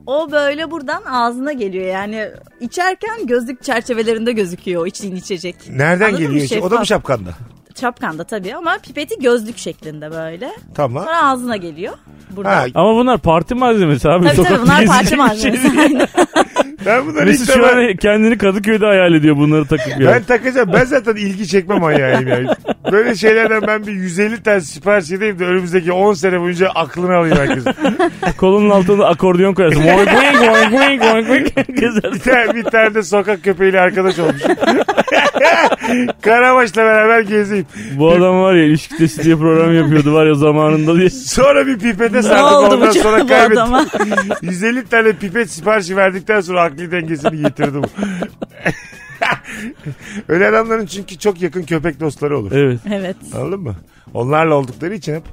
[SPEAKER 5] O böyle buradan ağzına geliyor yani içerken gözlük çerçevelerinde gözüküyor o içtiğin içecek.
[SPEAKER 3] Nereden
[SPEAKER 5] Anladın mı?
[SPEAKER 3] geliyor? işte? O da mı
[SPEAKER 5] Şeffaf.
[SPEAKER 3] şapkanda?
[SPEAKER 5] Şapkanda tabii ama pipeti gözlük şeklinde böyle.
[SPEAKER 3] Tamam.
[SPEAKER 5] Sonra ağzına geliyor. Buradan.
[SPEAKER 3] Ha,
[SPEAKER 4] Ama bunlar parti malzemesi abi.
[SPEAKER 5] Tabii tabii
[SPEAKER 4] Sokakta
[SPEAKER 5] bunlar
[SPEAKER 4] gezecek bir
[SPEAKER 5] parça
[SPEAKER 4] şey
[SPEAKER 5] malzemesi.
[SPEAKER 4] değil.
[SPEAKER 5] Aynen.
[SPEAKER 3] ben bunları hiç
[SPEAKER 4] Mesut şu
[SPEAKER 3] ben,
[SPEAKER 4] an kendini Kadıköy'de hayal ediyor bunları takıp ya.
[SPEAKER 3] ben takacağım. Ben zaten ilgi çekme manyağıyım yani. Böyle şeylerden ben bir 150 tane sipariş edeyim de önümüzdeki 10 sene boyunca aklını alayım herkes.
[SPEAKER 4] Kolunun altına akordeon koyarsın. Boing boing boing boing boing boing. Gezersin.
[SPEAKER 3] Bir tane, bir tane de sokak köpeğiyle arkadaş olmuşum. Karabaş'la beraber gezeyim.
[SPEAKER 4] Bu adam var ya ilişki testi diye program yapıyordu var ya zamanında diye.
[SPEAKER 3] Sonra bir pipete
[SPEAKER 5] ne
[SPEAKER 3] sardım
[SPEAKER 5] oldu
[SPEAKER 3] ondan
[SPEAKER 5] bu,
[SPEAKER 3] sonra
[SPEAKER 5] bu
[SPEAKER 3] kaybettim.
[SPEAKER 5] adama?
[SPEAKER 3] 150 tane pipet siparişi verdikten sonra akli dengesini yitirdim. Öyle adamların çünkü çok yakın köpek dostları olur.
[SPEAKER 4] Evet.
[SPEAKER 5] evet.
[SPEAKER 3] Anladın mı? Onlarla oldukları için hep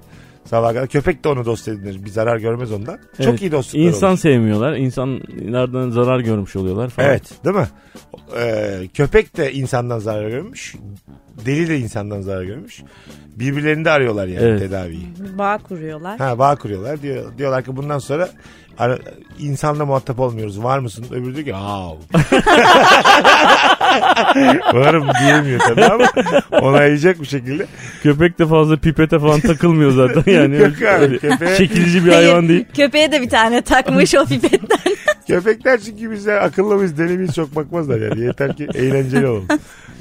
[SPEAKER 3] sabah kadar köpek de onu dost edinir. Bir zarar görmez ondan.
[SPEAKER 4] Evet.
[SPEAKER 3] Çok iyi dostluklar
[SPEAKER 4] İnsan
[SPEAKER 3] olur.
[SPEAKER 4] sevmiyorlar. İnsanlardan zarar görmüş oluyorlar falan.
[SPEAKER 3] Evet değil mi? Ee, köpek de insandan zarar görmüş. Deli de insandan zarar görmüş. Birbirlerini de arıyorlar yani
[SPEAKER 4] Evet.
[SPEAKER 3] tedaviyi.
[SPEAKER 5] Bağ kuruyorlar.
[SPEAKER 3] Ha bağ kuruyorlar. Diyor, diyorlar ki bundan sonra ara- insanla muhatap olmuyoruz. Var mısın? Öbürü diyor ki "Hav." Varım diyemiyor tabii ama onaylayacak bir şekilde.
[SPEAKER 4] Köpek de fazla pipete falan takılmıyor zaten yani.
[SPEAKER 3] Yok abi,
[SPEAKER 4] Öyle
[SPEAKER 3] köpeğe-
[SPEAKER 4] Çekilici bir hayvan değil.
[SPEAKER 5] Köpeğe de bir tane takmış o pipetten.
[SPEAKER 3] Köpekler çünkü bize akıllı mıyız deli miyiz çok bakmazlar yani. Yeter ki eğlenceli olalım.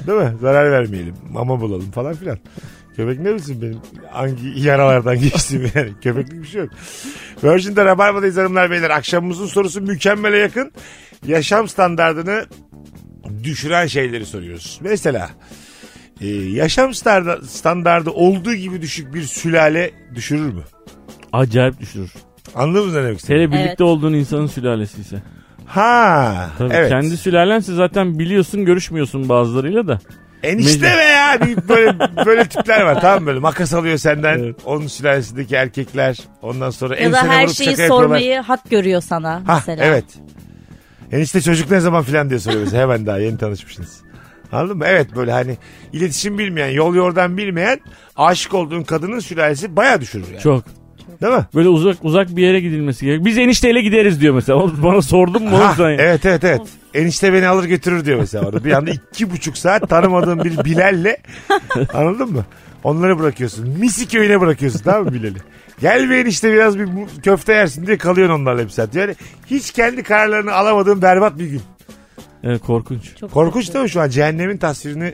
[SPEAKER 3] Değil mi? Zarar vermeyelim. Mama bulalım falan filan. Köpek ne bilsin benim hangi yaralardan geçtiğimi yani. Köpeklik bir şey yok. Virgin'de Rabarba'dayız hanımlar beyler. Akşamımızın sorusu mükemmele yakın. Yaşam standartını düşüren şeyleri soruyoruz. Mesela e, yaşam standardı, standardı olduğu gibi düşük bir sülale düşürür mü?
[SPEAKER 4] Acayip düşürür.
[SPEAKER 3] Anladın mı ne demek istediğimi?
[SPEAKER 4] Hele birlikte
[SPEAKER 5] Evet.
[SPEAKER 4] olduğun insanın sülalesi ise.
[SPEAKER 3] Ha,
[SPEAKER 4] Tabii
[SPEAKER 3] evet.
[SPEAKER 4] kendi sülalense zaten biliyorsun görüşmüyorsun bazılarıyla da.
[SPEAKER 3] Enişte
[SPEAKER 4] Mecbur.
[SPEAKER 3] be ya Bir böyle böyle tipler var tamam mı? böyle makas alıyor senden
[SPEAKER 4] Evet.
[SPEAKER 3] onun sülalesindeki erkekler ondan sonra
[SPEAKER 5] ya da
[SPEAKER 3] ensene
[SPEAKER 5] her
[SPEAKER 3] vurup
[SPEAKER 5] şeyi
[SPEAKER 3] şaka yapıyorlar.
[SPEAKER 5] sormayı hak görüyor sana
[SPEAKER 3] ha,
[SPEAKER 5] mesela.
[SPEAKER 3] evet. Enişte çocuk ne zaman filan diye soruyor mesela. hemen daha yeni tanışmışsınız. Anladın mı? Evet böyle hani iletişim bilmeyen, yol yordan bilmeyen aşık olduğun kadının sülalesi baya düşürür yani.
[SPEAKER 4] Çok.
[SPEAKER 3] Değil mi?
[SPEAKER 4] Böyle uzak uzak bir yere gidilmesi gerek. Biz enişteyle gideriz diyor mesela. Oğlum Bana sordun mu oğlum
[SPEAKER 3] Ha,
[SPEAKER 4] sen? ya?
[SPEAKER 3] evet evet evet. Enişte beni alır götürür diyor mesela orada. Bir anda iki buçuk saat tanımadığın bir Bilal'le anladın mı? Onları bırakıyorsun. Misi köyüne bırakıyorsun tamam mı Bilal'i? Gel bir enişte biraz bir bu- köfte yersin diye kalıyorsun onlarla bir saat. Yani hiç kendi kararlarını alamadığın berbat bir gün.
[SPEAKER 4] Evet, korkunç.
[SPEAKER 5] Çok
[SPEAKER 3] Korkunç değil mi şu an? Cehennemin tasvirini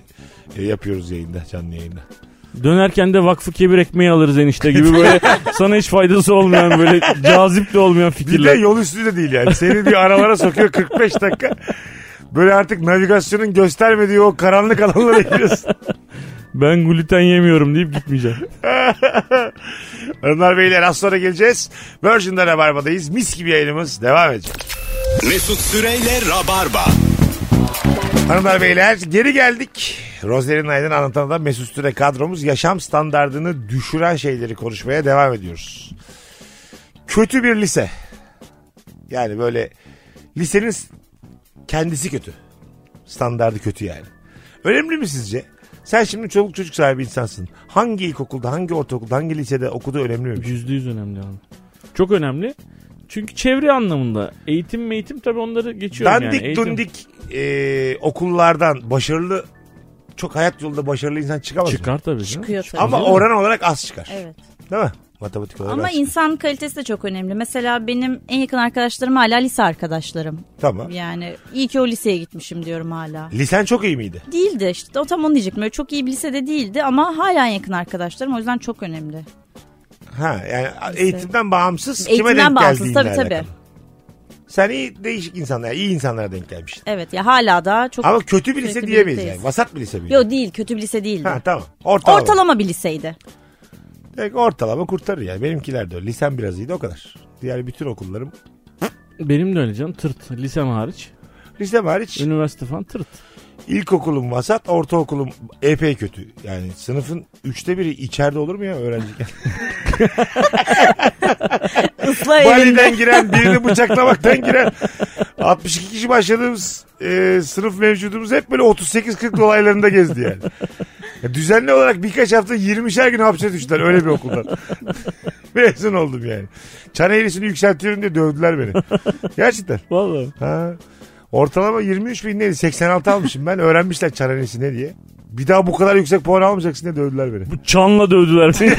[SPEAKER 3] e, yapıyoruz yayında, canlı yayında.
[SPEAKER 4] Dönerken de vakfı kebir ekmeği alırız enişte gibi böyle sana hiç faydası olmayan böyle cazip de olmayan
[SPEAKER 3] Bir de
[SPEAKER 4] fikirler.
[SPEAKER 3] yol üstü de değil yani. Seni bir aralara sokuyor 45 dakika. Böyle artık navigasyonun göstermediği o karanlık alanlara giriyorsun.
[SPEAKER 4] Ben gluten yemiyorum deyip gitmeyeceğim.
[SPEAKER 3] Hanımlar beyler az sonra geleceğiz. Virgin'de Rabarba'dayız. Mis gibi yayınımız devam edecek.
[SPEAKER 2] Mesut Süreyle Rabarba.
[SPEAKER 3] Hanımlar beyler geri geldik. Rozlerin Aydın anlatan adam Mesut Süre kadromuz yaşam standartını düşüren şeyleri konuşmaya devam ediyoruz. Kötü bir lise. Yani böyle lisenin s- kendisi kötü. Standardı kötü yani. Önemli mi sizce? Sen şimdi çoluk çocuk sahibi insansın. Hangi ilkokulda, hangi ortaokulda, hangi lisede okuduğu önemli mi?
[SPEAKER 4] Yüzde yüz önemli abi. Çok önemli. Çünkü çevre anlamında. Eğitim eğitim tabii onları geçiyorum
[SPEAKER 3] Dandik
[SPEAKER 4] yani. Eğitim-
[SPEAKER 3] dundik e, okullardan başarılı, çok hayat yolunda başarılı insan çıkamaz. mı?
[SPEAKER 4] Çıkar tabii. canım.
[SPEAKER 5] Çıkıyor tabii.
[SPEAKER 3] Ama oran olarak az çıkar.
[SPEAKER 5] Evet.
[SPEAKER 3] Değil mi? Matematik olarak
[SPEAKER 5] Ama
[SPEAKER 3] az çıkar.
[SPEAKER 5] insan kalitesi de çok önemli. Mesela benim en yakın arkadaşlarım hala lise arkadaşlarım.
[SPEAKER 3] Tamam.
[SPEAKER 5] Yani iyi ki o liseye gitmişim diyorum hala.
[SPEAKER 3] Lisen çok iyi miydi?
[SPEAKER 5] Değildi işte o tam onu diyecektim. Öyle çok iyi bir lisede değildi ama hala en yakın arkadaşlarım o yüzden çok önemli.
[SPEAKER 3] Ha yani eğitimden bağımsız kime
[SPEAKER 5] Eğitimden
[SPEAKER 3] denk
[SPEAKER 5] bağımsız
[SPEAKER 3] geldiğinle
[SPEAKER 5] tabii
[SPEAKER 3] alakalı.
[SPEAKER 5] tabii.
[SPEAKER 3] Sen iyi değişik insanlara, iyi insanlara denk gelmişsin.
[SPEAKER 5] Evet ya hala da çok...
[SPEAKER 3] Ama kötü bir
[SPEAKER 5] Sürekli
[SPEAKER 3] lise diyemeyiz
[SPEAKER 5] birlikteyiz.
[SPEAKER 3] yani. Vasat bir lise miydi?
[SPEAKER 5] Yok değil kötü bir lise değildi.
[SPEAKER 3] Ha tamam. Ortalama. Ortalama.
[SPEAKER 5] Ortalama bir liseydi.
[SPEAKER 3] ortalama kurtarır yani. Benimkiler de öyle. Lisem biraz iyiydi o kadar. Diğer bütün okullarım.
[SPEAKER 4] Benim de öyle canım tırt. Lisem hariç.
[SPEAKER 3] Lisem hariç
[SPEAKER 4] Üniversite falan tırt.
[SPEAKER 3] ilkokulum vasat, ortaokulum epey kötü. Yani sınıfın üçte biri içeride olur mu ya öğrenciyken?
[SPEAKER 5] Islah evinde.
[SPEAKER 3] Validen giren, birini bıçaklamaktan giren. 62 kişi başladığımız e, sınıf mevcudumuz hep böyle 38-40 dolaylarında gezdi yani. Ya düzenli olarak birkaç hafta 20'şer gün hapse düştüler öyle bir okuldan. Mezun oldum yani. Çan eğrisini yükseltiyorum diye dövdüler beni. Gerçekten.
[SPEAKER 4] Vallahi.
[SPEAKER 3] Ha. Ortalama 23 bin neydi? 86 almışım ben. Öğrenmişler çan eğrisi ne diye. Bir daha bu kadar yüksek puan almayacaksın diye dövdüler beni.
[SPEAKER 4] Bu çanla dövdüler beni.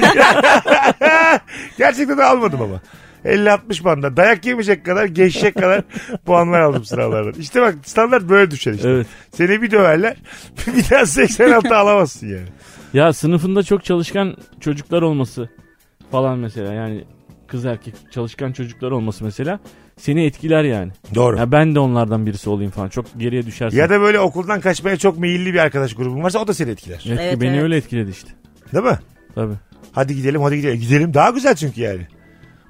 [SPEAKER 3] Gerçekten de almadım ama. 50-60 banda dayak yemeyecek kadar geçecek kadar puanlar aldım sınavlardan. İşte bak standart böyle düşer işte.
[SPEAKER 4] evet.
[SPEAKER 3] Seni bir döverler bir daha 86 alamazsın yani.
[SPEAKER 4] Ya sınıfında çok çalışkan çocuklar olması falan mesela yani kız erkek çalışkan çocuklar olması mesela seni etkiler yani.
[SPEAKER 3] Doğru.
[SPEAKER 4] Ya ben de onlardan birisi olayım falan. Çok geriye düşersin.
[SPEAKER 3] Ya da böyle okuldan kaçmaya çok meyilli bir arkadaş grubun varsa o da seni etkiler.
[SPEAKER 4] Etki-
[SPEAKER 5] Evet,
[SPEAKER 4] beni
[SPEAKER 5] evet.
[SPEAKER 4] öyle etkiledi işte.
[SPEAKER 3] Değil mi?
[SPEAKER 4] Tabii.
[SPEAKER 3] Hadi gidelim hadi gidelim. Gidelim daha güzel çünkü yani.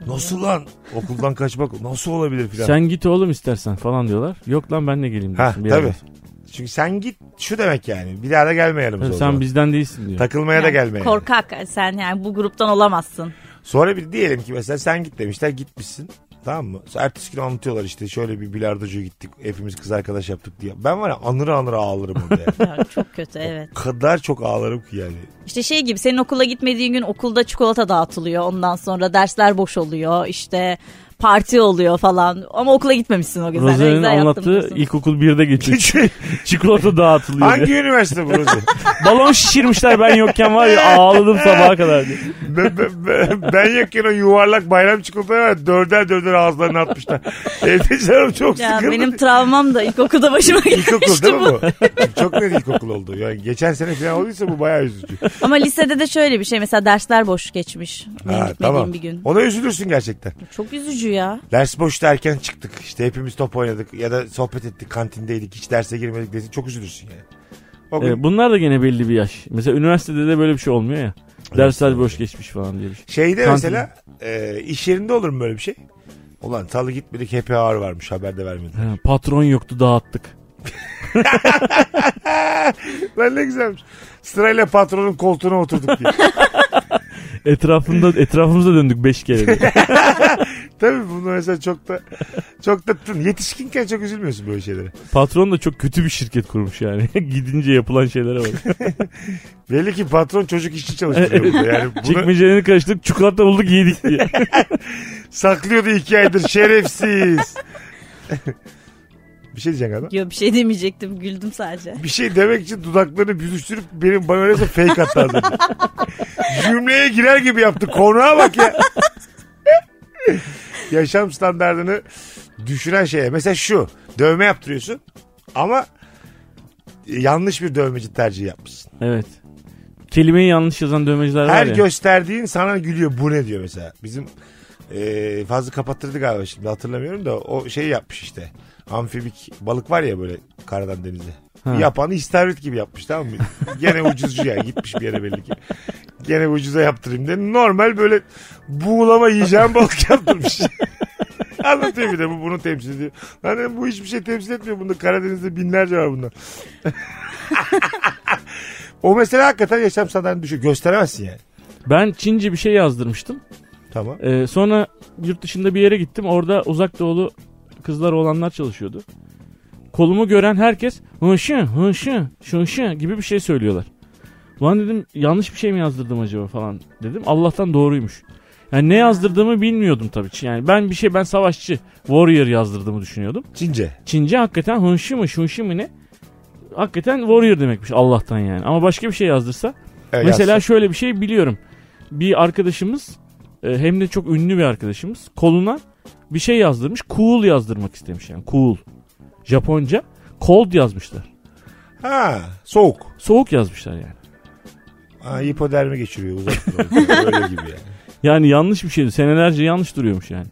[SPEAKER 3] Nasıl lan? Okuldan kaçmak nasıl olabilir filan.
[SPEAKER 4] Sen git oğlum istersen falan diyorlar. Yok lan ben de geleyim
[SPEAKER 3] Ha,
[SPEAKER 4] diyorsun. bir yerden.
[SPEAKER 3] tabii. Çünkü sen git şu demek yani. Bir daha da gelme yanımıza.
[SPEAKER 4] Tabii,
[SPEAKER 3] o
[SPEAKER 4] Sen
[SPEAKER 3] zaman.
[SPEAKER 4] bizden değilsin diyor.
[SPEAKER 3] Takılmaya da
[SPEAKER 5] Yani
[SPEAKER 3] gelme. yani.
[SPEAKER 5] Korkak sen yani bu gruptan olamazsın.
[SPEAKER 3] Sonra bir diyelim ki mesela sen git demişler gitmişsin. Tamam mı? Sonra Ertesi gün anlatıyorlar işte şöyle bir bilardocuya gittik. Hepimiz kız arkadaş yaptık diye. Ben var ya anır anır ağlarım orada yani.
[SPEAKER 5] Ya, çok kötü evet.
[SPEAKER 3] O kadar çok ağlarım ki yani.
[SPEAKER 5] İşte şey gibi senin okula gitmediğin gün okulda çikolata dağıtılıyor. Ondan sonra dersler boş oluyor. işte parti oluyor falan. Ama okula gitmemişsin o gün. sen. Ne
[SPEAKER 4] Rozan'ın
[SPEAKER 5] güzel yaptım
[SPEAKER 4] anlattığı
[SPEAKER 5] diyorsun.
[SPEAKER 4] ilkokul 1'de geçiyor.
[SPEAKER 3] şey
[SPEAKER 4] Çikolata dağıtılıyor. diye.
[SPEAKER 3] Hangi üniversite burası?
[SPEAKER 4] Balon şişirmişler ben yokken var ya ağladım sabaha kadar diye.
[SPEAKER 3] ben, ben- ben- ben yokken o yuvarlak bayram çikolatayı var. ya, Dörder dörder ağızlarına atmışlar. Evde canım çok
[SPEAKER 5] Ya
[SPEAKER 3] sıkıldı.
[SPEAKER 5] benim travmam da ilkokulda başıma
[SPEAKER 3] İlkokul değil
[SPEAKER 5] gelmişti
[SPEAKER 3] mi
[SPEAKER 5] bu.
[SPEAKER 3] bu? Çok net ilkokul oldu. Yani geçen sene falan olduysa bu bayağı üzücü.
[SPEAKER 5] Ama lisede de şöyle bir şey mesela dersler boş geçmiş. Benim
[SPEAKER 3] Ha,
[SPEAKER 5] gitmediğim
[SPEAKER 3] tamam.
[SPEAKER 5] bir gün.
[SPEAKER 3] Ona üzülürsün gerçekten.
[SPEAKER 5] Çok üzücü ya.
[SPEAKER 3] Ders boştu erken çıktık. İşte hepimiz top oynadık ya da sohbet ettik kantindeydik. Hiç derse girmedik desin. Çok üzülürsün yani. O gün
[SPEAKER 4] Ee, bunlar da gene belli bir yaş. Mesela üniversitede de böyle bir şey olmuyor ya. Dersler boş geçmiş falan diye bir şey.
[SPEAKER 3] şeyde
[SPEAKER 4] kantin-
[SPEAKER 3] mesela e, iş yerinde olur mu böyle bir şey? Ulan salı gitmedik happy hour varmış haberde vermedi.
[SPEAKER 4] Ha, patron yoktu dağıttık.
[SPEAKER 3] Lan ne güzelmiş. Sırayla patronun koltuğuna oturduk diye.
[SPEAKER 4] Etrafında etrafımıza döndük 5 kere. diye.
[SPEAKER 3] Tabii bunu mesela çok da çok da tın. Yetişkinken çok üzülmüyorsun böyle şeylere.
[SPEAKER 4] patron da çok kötü bir şirket kurmuş yani. Gidince yapılan şeylere bak.
[SPEAKER 3] Belli ki patron çocuk işçi çalıştırıyor burada. Yani bunu
[SPEAKER 4] Çekmecelerini karıştırdık, çikolata bulduk, yedik diye.
[SPEAKER 3] saklıyordu iki aydır şerefsiz. bir şey diyeceksin galiba.
[SPEAKER 5] Yok bir şey demeyecektim güldüm sadece.
[SPEAKER 3] bir şey demek için dudaklarını büzüştürüp benim bana öyleyse fake attı az önce. Cümleye girer gibi yaptı. Konuğa bak ya. Yaşam standartını düşüren şeye. Mesela şu. Dövme yaptırıyorsun ama yanlış bir dövmeci tercihi yapmışsın.
[SPEAKER 4] Evet. Kelimeyi yanlış yazan dövmeciler var
[SPEAKER 3] Her
[SPEAKER 4] ya.
[SPEAKER 3] gösterdiğin sana gülüyor. Bu ne diyor mesela. Bizim e, fazla kapattırdı galiba şey şimdi hatırlamıyorum da o şeyi yapmış işte. Amfibik balık var ya böyle karadan denize. Yapanı istavrit gibi yapmış tamam mı? Gene ucuzcu yani gitmiş bir yere belli ki. Gene ucuza yaptırayım diye. Normal böyle buğulama yiyeceğim balık yaptırmış. Anlatıyor bir de bu bunu temsil ediyor. Lan dedim, bu hiçbir şey temsil etmiyor. Bunda Karadeniz'de binlerce var bundan. o mesela hakikaten yaşam standartını düşüyor. Gösteremezsin yani.
[SPEAKER 4] Ben Çince bir şey yazdırmıştım.
[SPEAKER 3] Tamam.
[SPEAKER 4] Ee, sonra yurt dışında bir yere gittim. Orada uzak doğulu kızlar olanlar çalışıyordu. Kolumu gören herkes hınşı hınşı şınşı gibi bir şey söylüyorlar. Lan dedim yanlış bir şey mi yazdırdım acaba falan dedim. Allah'tan doğruymuş. Yani ne yazdırdığımı bilmiyordum tabii. Yani ben bir şey ben savaşçı warrior yazdırdığımı düşünüyordum.
[SPEAKER 3] Çince.
[SPEAKER 4] Çince hakikaten hınşı mı şunşı mı ne? Hakikaten warrior demekmiş Allah'tan yani. Ama başka bir şey yazdırsa
[SPEAKER 3] Evet, Ee,
[SPEAKER 4] Mesela
[SPEAKER 3] yazsın.
[SPEAKER 4] şöyle bir şey biliyorum. Bir arkadaşımız e, hem de çok ünlü bir arkadaşımız koluna bir şey yazdırmış. Cool yazdırmak istemiş yani. Cool. Japonca cold yazmışlar.
[SPEAKER 3] Ha, soğuk.
[SPEAKER 4] Soğuk yazmışlar yani.
[SPEAKER 3] Ha, hipodermi geçiriyor uzak doğuda. Öyle gibi yani.
[SPEAKER 4] Yani yanlış bir şeydi. Senelerce yanlış duruyormuş yani.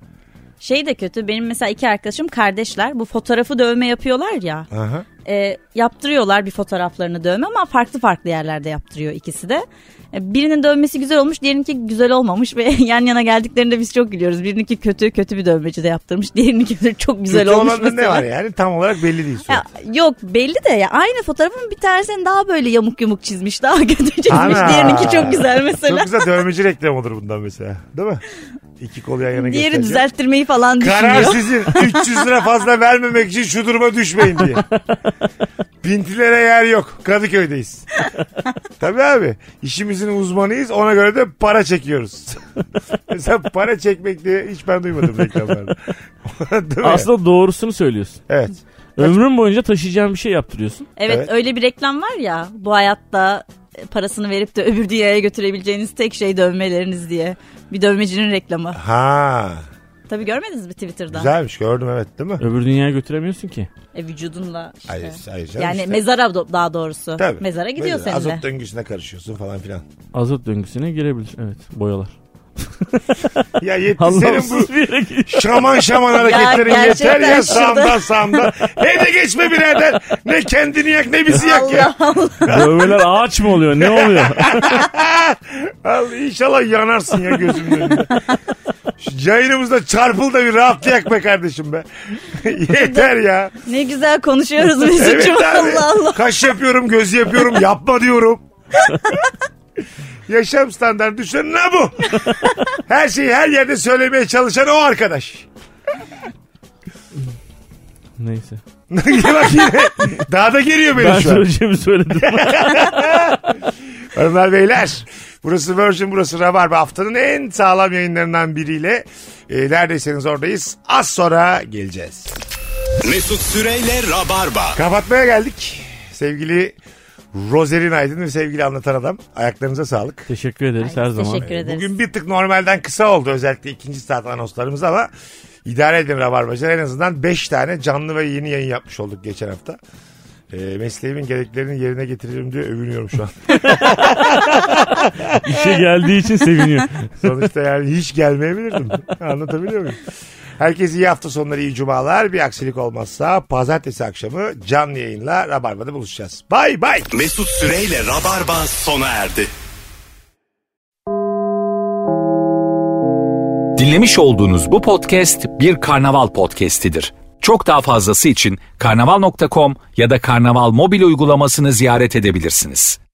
[SPEAKER 5] Şey de kötü benim mesela iki arkadaşım kardeşler bu fotoğrafı dövme yapıyorlar ya.
[SPEAKER 3] Aha.
[SPEAKER 5] E, yaptırıyorlar bir fotoğraflarını dövme ama farklı farklı yerlerde yaptırıyor ikisi de. E, birinin dövmesi güzel olmuş diğerininki güzel olmamış ve yan yana geldiklerinde biz çok gülüyoruz. Birininki kötü kötü bir dövmeci de yaptırmış diğerininki de çok güzel
[SPEAKER 3] Kötü
[SPEAKER 5] olmuş.
[SPEAKER 3] olanda ne
[SPEAKER 5] mesela.
[SPEAKER 3] var yani? Tam olarak belli değil.
[SPEAKER 5] Ya,
[SPEAKER 3] surat.
[SPEAKER 5] yok belli de ya aynı fotoğrafın bir tanesini daha böyle yamuk yumuk çizmiş daha kötü çizmiş
[SPEAKER 3] Ana.
[SPEAKER 5] diğerininki çok güzel mesela.
[SPEAKER 3] Çok güzel dövmeci reklam olur bundan mesela. Değil mi? İki kol yan yana
[SPEAKER 5] Diğeri
[SPEAKER 3] göstereceğim.
[SPEAKER 5] düzelttirmeyi falan
[SPEAKER 3] Karar
[SPEAKER 5] düşünüyor.
[SPEAKER 3] sizin. 300 lira fazla vermemek için şu duruma düşmeyin diye. Pintilere yer yok. Kadıköy'deyiz. Tabii abi. İşimizin uzmanıyız. Ona göre de para çekiyoruz. Mesela para çekmek diye hiç ben duymadım reklamlarda. Değil mi?
[SPEAKER 4] Aslında doğrusunu söylüyorsun.
[SPEAKER 3] Evet.
[SPEAKER 4] Ömrün boyunca taşıyacağın bir şey yaptırıyorsun.
[SPEAKER 5] Evet,
[SPEAKER 3] Evet.
[SPEAKER 5] öyle bir reklam var ya bu hayatta e, parasını verip de öbür dünyaya götürebileceğiniz tek şey dövmeleriniz diye. Bir dövmecinin reklamı.
[SPEAKER 3] Ha.
[SPEAKER 5] Tabii görmediniz mi Twitter'da?
[SPEAKER 3] Güzelmiş gördüm evet değil mi?
[SPEAKER 4] Öbür dünyaya götüremiyorsun ki.
[SPEAKER 5] E, vücudunla işte.
[SPEAKER 3] Hayır, hayır canım
[SPEAKER 5] yani
[SPEAKER 3] işte.
[SPEAKER 5] mezara do- daha doğrusu.
[SPEAKER 3] Tabii.
[SPEAKER 5] Mezara gidiyor
[SPEAKER 3] Mezara.
[SPEAKER 5] seninle.
[SPEAKER 3] Azot döngüsüne karışıyorsun falan filan.
[SPEAKER 4] Azot döngüsüne girebilir. Evet boyalar.
[SPEAKER 3] Ya yetti senin bu
[SPEAKER 4] Anlamsız bir yere gidiyor.
[SPEAKER 3] şaman şaman hareketlerin yeter
[SPEAKER 5] Ya gerçekten
[SPEAKER 3] ya
[SPEAKER 5] şurada.
[SPEAKER 3] sağımda sağımda. Hele geçme birader. Ne kendini yak ne bizi yak ya.
[SPEAKER 4] Dövmeler ağaç mı oluyor? Ne oluyor?
[SPEAKER 3] Al inşallah yanarsın ya gözümün önünde. Şu yayınımızda çarpıl da bir rahatlayak be kardeşim be. Yeter ya.
[SPEAKER 5] Ne güzel konuşuyoruz Mesut'cum.
[SPEAKER 3] Evet abi.
[SPEAKER 5] Allah Allah.
[SPEAKER 3] Kaş yapıyorum, göz yapıyorum, yapma diyorum. Yaşam standartı düşen ne bu? Her şeyi her yerde söylemeye çalışan o arkadaş.
[SPEAKER 4] Neyse.
[SPEAKER 3] Bak yine daha da geliyor benim
[SPEAKER 4] Ben
[SPEAKER 3] şu an.
[SPEAKER 4] söyleyeceğimi söyledim.
[SPEAKER 3] Hanımlar beyler burası Virgin burası Rabarba haftanın en sağlam yayınlarından biriyle e, neredeyseniz oradayız az sonra geleceğiz.
[SPEAKER 2] Mesut Süreyle Rabarba.
[SPEAKER 3] Kapatmaya geldik sevgili Rozerin Aydın ve sevgili anlatan adam ayaklarınıza sağlık.
[SPEAKER 4] Teşekkür ederiz her zaman.
[SPEAKER 5] Teşekkür ederiz.
[SPEAKER 3] Bugün bir tık normalden kısa oldu özellikle ikinci saat anonslarımız ama idare edin Rabarbacılar en azından 5 tane canlı ve yeni yayın yapmış olduk geçen hafta. E, mesleğimin gereklerini yerine getiririm diye övünüyorum şu an.
[SPEAKER 4] İşe şey geldiği için seviniyor.
[SPEAKER 3] Sonuçta yani hiç gelmeyebilirdim. Anlatabiliyor muyum? Herkese iyi hafta sonları, iyi cumalar. Bir aksilik olmazsa pazartesi akşamı canlı yayınla Rabarba'da buluşacağız. Bay bay.
[SPEAKER 2] Mesut Süreyle Rabarba sona erdi.
[SPEAKER 1] Dinlemiş olduğunuz bu podcast bir karnaval podcastidir. Çok daha fazlası için karnaval.com ya da karnaval mobil uygulamasını ziyaret edebilirsiniz.